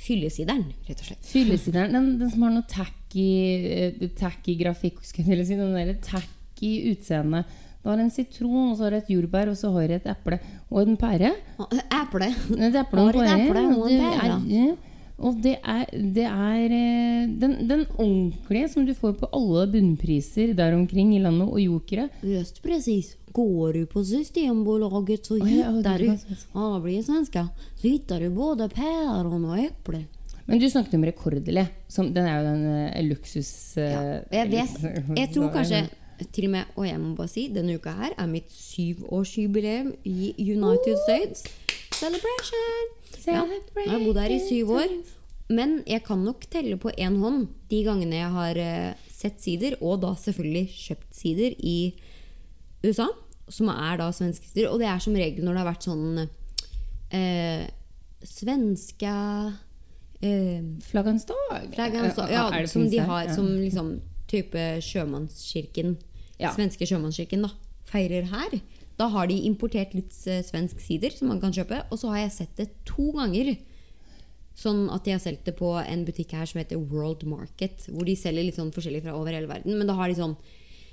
Speaker 1: fyllesideren, rett og slett.
Speaker 2: Fyllesideren. Den, den som har noe tacky, eh, tacky grafikk, skulle jeg til å si. Den der tacky utseende. Da har en sitron, og så har du et jordbær, og så har du et eple og en pære.
Speaker 1: Og Eple.
Speaker 2: Nei, Det er eple og
Speaker 1: Har et
Speaker 2: en
Speaker 1: eple
Speaker 2: pære.
Speaker 1: og en
Speaker 2: og det
Speaker 1: pære.
Speaker 2: er- ja. Og det er, det er eh, den, den ordentlige som du får på alle bunnpriser der omkring i landet, og jokere.
Speaker 1: Just precis. Går du på Systembolaget så
Speaker 2: Oj, ja,
Speaker 1: hittar
Speaker 2: det
Speaker 1: du,
Speaker 2: var svenska.
Speaker 1: ja, det blir svenska, så hittar du både päron og äpple.
Speaker 2: Men du snakket om Rekordelet. Som, den er jo den eh, luksus... eh,
Speaker 1: Jeg vet,
Speaker 2: <laughs> luksus-
Speaker 1: jeg tror kanskje til og med, og jeg må bare si, denne uka her er mitt syvårsjubileum i United States. Celebration! Ja, nå har jeg bodd her i syv år, men jeg kan nok telle på én hånd de gangene jeg har eh, sett sider, og da selvfølgelig kjøpt sider i USA, som er da svenske sider. Og det er som regel når det har vært sånn eh, svenske eh,
Speaker 2: Flaggens dag.
Speaker 1: flaggene, så,
Speaker 2: Er
Speaker 1: ja,
Speaker 2: det
Speaker 1: som de
Speaker 2: finnes her?
Speaker 1: har
Speaker 2: Ja.
Speaker 1: som liksom type sjømannskirken,
Speaker 2: Ja.
Speaker 1: svenske sjømannskirken, da, feirer her. Da har de importert litt eh, svensk sider som man kan kjøpe, og så har jeg sett det to ganger. Sånn at de har solgt det på en butikk her som heter World Market, hvor de selger litt sånn forskjellig fra over hele verden, men da har de sånn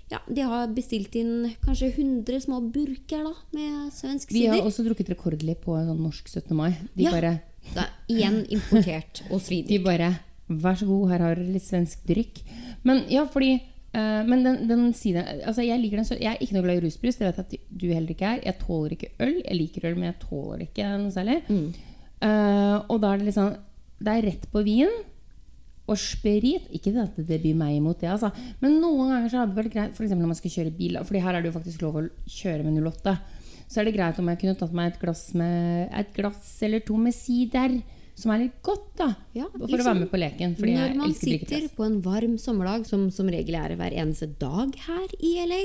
Speaker 1: ja, De har bestilt inn kanskje 100 små burker da, med svensk
Speaker 2: Vi har
Speaker 1: sider.
Speaker 2: også drukket rekordlig på en sånn norsk 17. mai. De,
Speaker 1: Ja.
Speaker 2: bare,
Speaker 1: Da, igjen importert og svidd.
Speaker 2: de bare Vær så god, her har dere litt svensk drikk. Men ja, fordi eh, men den, den siden, altså jeg, liker den, så- jeg er ikke noe glad i rusbrus. Det vet jeg at du heller ikke er. Jeg tåler ikke øl. Jeg liker øl, men jeg tåler det ikke noe særlig. Eh, og da er det liksom Det er rett på vin og sprit. Ikke det at det blir meg imot det, altså. Men noen ganger så hadde det vært greit, f.eks. når man skal kjøre bil, da, Fordi her er det jo faktisk lov å kjøre med 08. Så er det greit om jeg kunne tatt meg et glass, med, et glass eller to med sider. Som er litt godt, da.
Speaker 1: Ja,
Speaker 2: for å
Speaker 1: liksom,
Speaker 2: være med på leken. Fordi
Speaker 1: Når
Speaker 2: jeg
Speaker 1: man
Speaker 2: elsker
Speaker 1: sitter
Speaker 2: drikkefest.
Speaker 1: på en varm sommerdag, som som regel er hver eneste dag her i LA,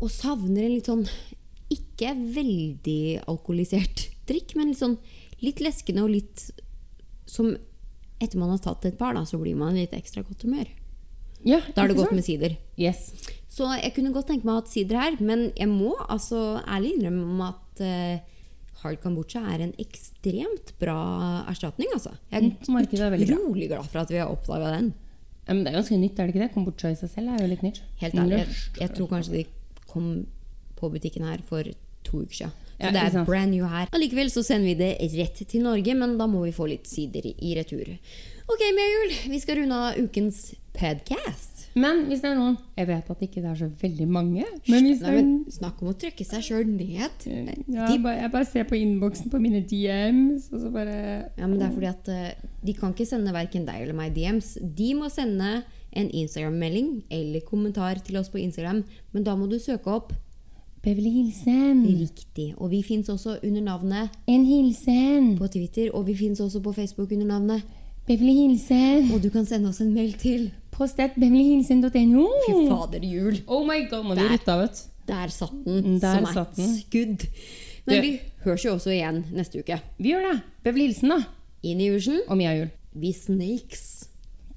Speaker 1: og savner en litt sånn ikke veldig alkoholisert drikk, men litt sånn litt leskende og litt som Etter man har tatt et par, da, så blir man i litt ekstra godt humør.
Speaker 2: Ja,
Speaker 1: Da er det
Speaker 2: ikke
Speaker 1: godt
Speaker 2: sant?
Speaker 1: med sider.
Speaker 2: Yes.
Speaker 1: Så jeg kunne godt tenke meg å ha sider her, men jeg må altså ærlig innrømme om at eh, Hard Kambodsja er en ekstremt bra erstatning, altså. Jeg
Speaker 2: Mm, Markedet er
Speaker 1: er
Speaker 2: veldig bra.
Speaker 1: utrolig glad for at vi har oppdaga den.
Speaker 2: Ja, men det er ganske nytt, er det ikke det? Kombucha i seg selv er jo litt nytt.
Speaker 1: Helt ærlig, jeg,
Speaker 2: Lunsj.
Speaker 1: jeg tror kanskje de kom på butikken her for to uker siden. Så
Speaker 2: Ja,
Speaker 1: det
Speaker 2: ikke
Speaker 1: er
Speaker 2: sant.
Speaker 1: brand new her. Allikevel så sender vi det rett til Norge, men da må vi få litt sider i retur. Ok, Mjøhjul, vi skal runde av ukens podcast.
Speaker 2: Men hvis det er noen Jeg vet at ikke det er så veldig mange. Men hvis det
Speaker 1: Nei,
Speaker 2: er
Speaker 1: men snakk om å trykke seg sjøl ned.
Speaker 2: Ja,
Speaker 1: De,
Speaker 2: bare, jeg bare ser på innboksen på mine DMs, og så bare
Speaker 1: ja, men det er fordi at eh, de kan ikke sende verken deg eller meg DMs. De må sende en Instagram-melding eller kommentar til oss på Instagram, men da må du søke opp
Speaker 2: Beverly Hilsen.
Speaker 1: Riktig. Og vi fins også under navnet
Speaker 2: En hilsen.
Speaker 1: på Twitter, og vi fins også på Facebook under navnet.
Speaker 2: Beverly Hilsen.
Speaker 1: Og du kan sende oss en mail til
Speaker 2: Post at beverlyhilsen.no.
Speaker 1: Fy fader, jul!
Speaker 2: Oh my god, nå er
Speaker 1: Der.
Speaker 2: du rutta, vet du.
Speaker 1: Der satt den
Speaker 2: Mm, Der
Speaker 1: som
Speaker 2: satt
Speaker 1: et
Speaker 2: den.
Speaker 1: skudd. Men
Speaker 2: Du-
Speaker 1: vi høres jo også igjen neste uke.
Speaker 2: Vi gjør det. Beverly Hilsen, da.
Speaker 1: Inn i Usen.
Speaker 2: Og Mia Juel.
Speaker 1: Vi snakes.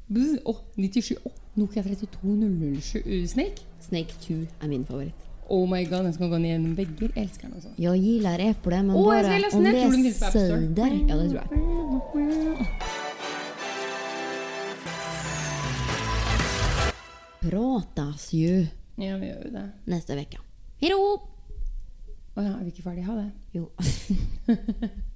Speaker 2: Bzz, Åh, 97. Åh, Nokia 32007 eh, Snake.
Speaker 1: Snake 2 er min favoritt.
Speaker 2: Oh my god, den skal gå ned gjennom vegger. Jeg elsker den altså. også.
Speaker 1: Jag gillar äpple men
Speaker 2: Åh, jeg skal
Speaker 1: bara
Speaker 2: laste
Speaker 1: om
Speaker 2: ned.
Speaker 1: det
Speaker 2: Tror du den
Speaker 1: är
Speaker 2: finnes på App Store?
Speaker 1: cider. Ja, det tror jeg. Pratas ju
Speaker 2: Ja, vi gjør jo det.
Speaker 1: nästa vecka. Hej då!
Speaker 2: Å ja, er vi ikke ferdige? Ha det.
Speaker 1: Jo.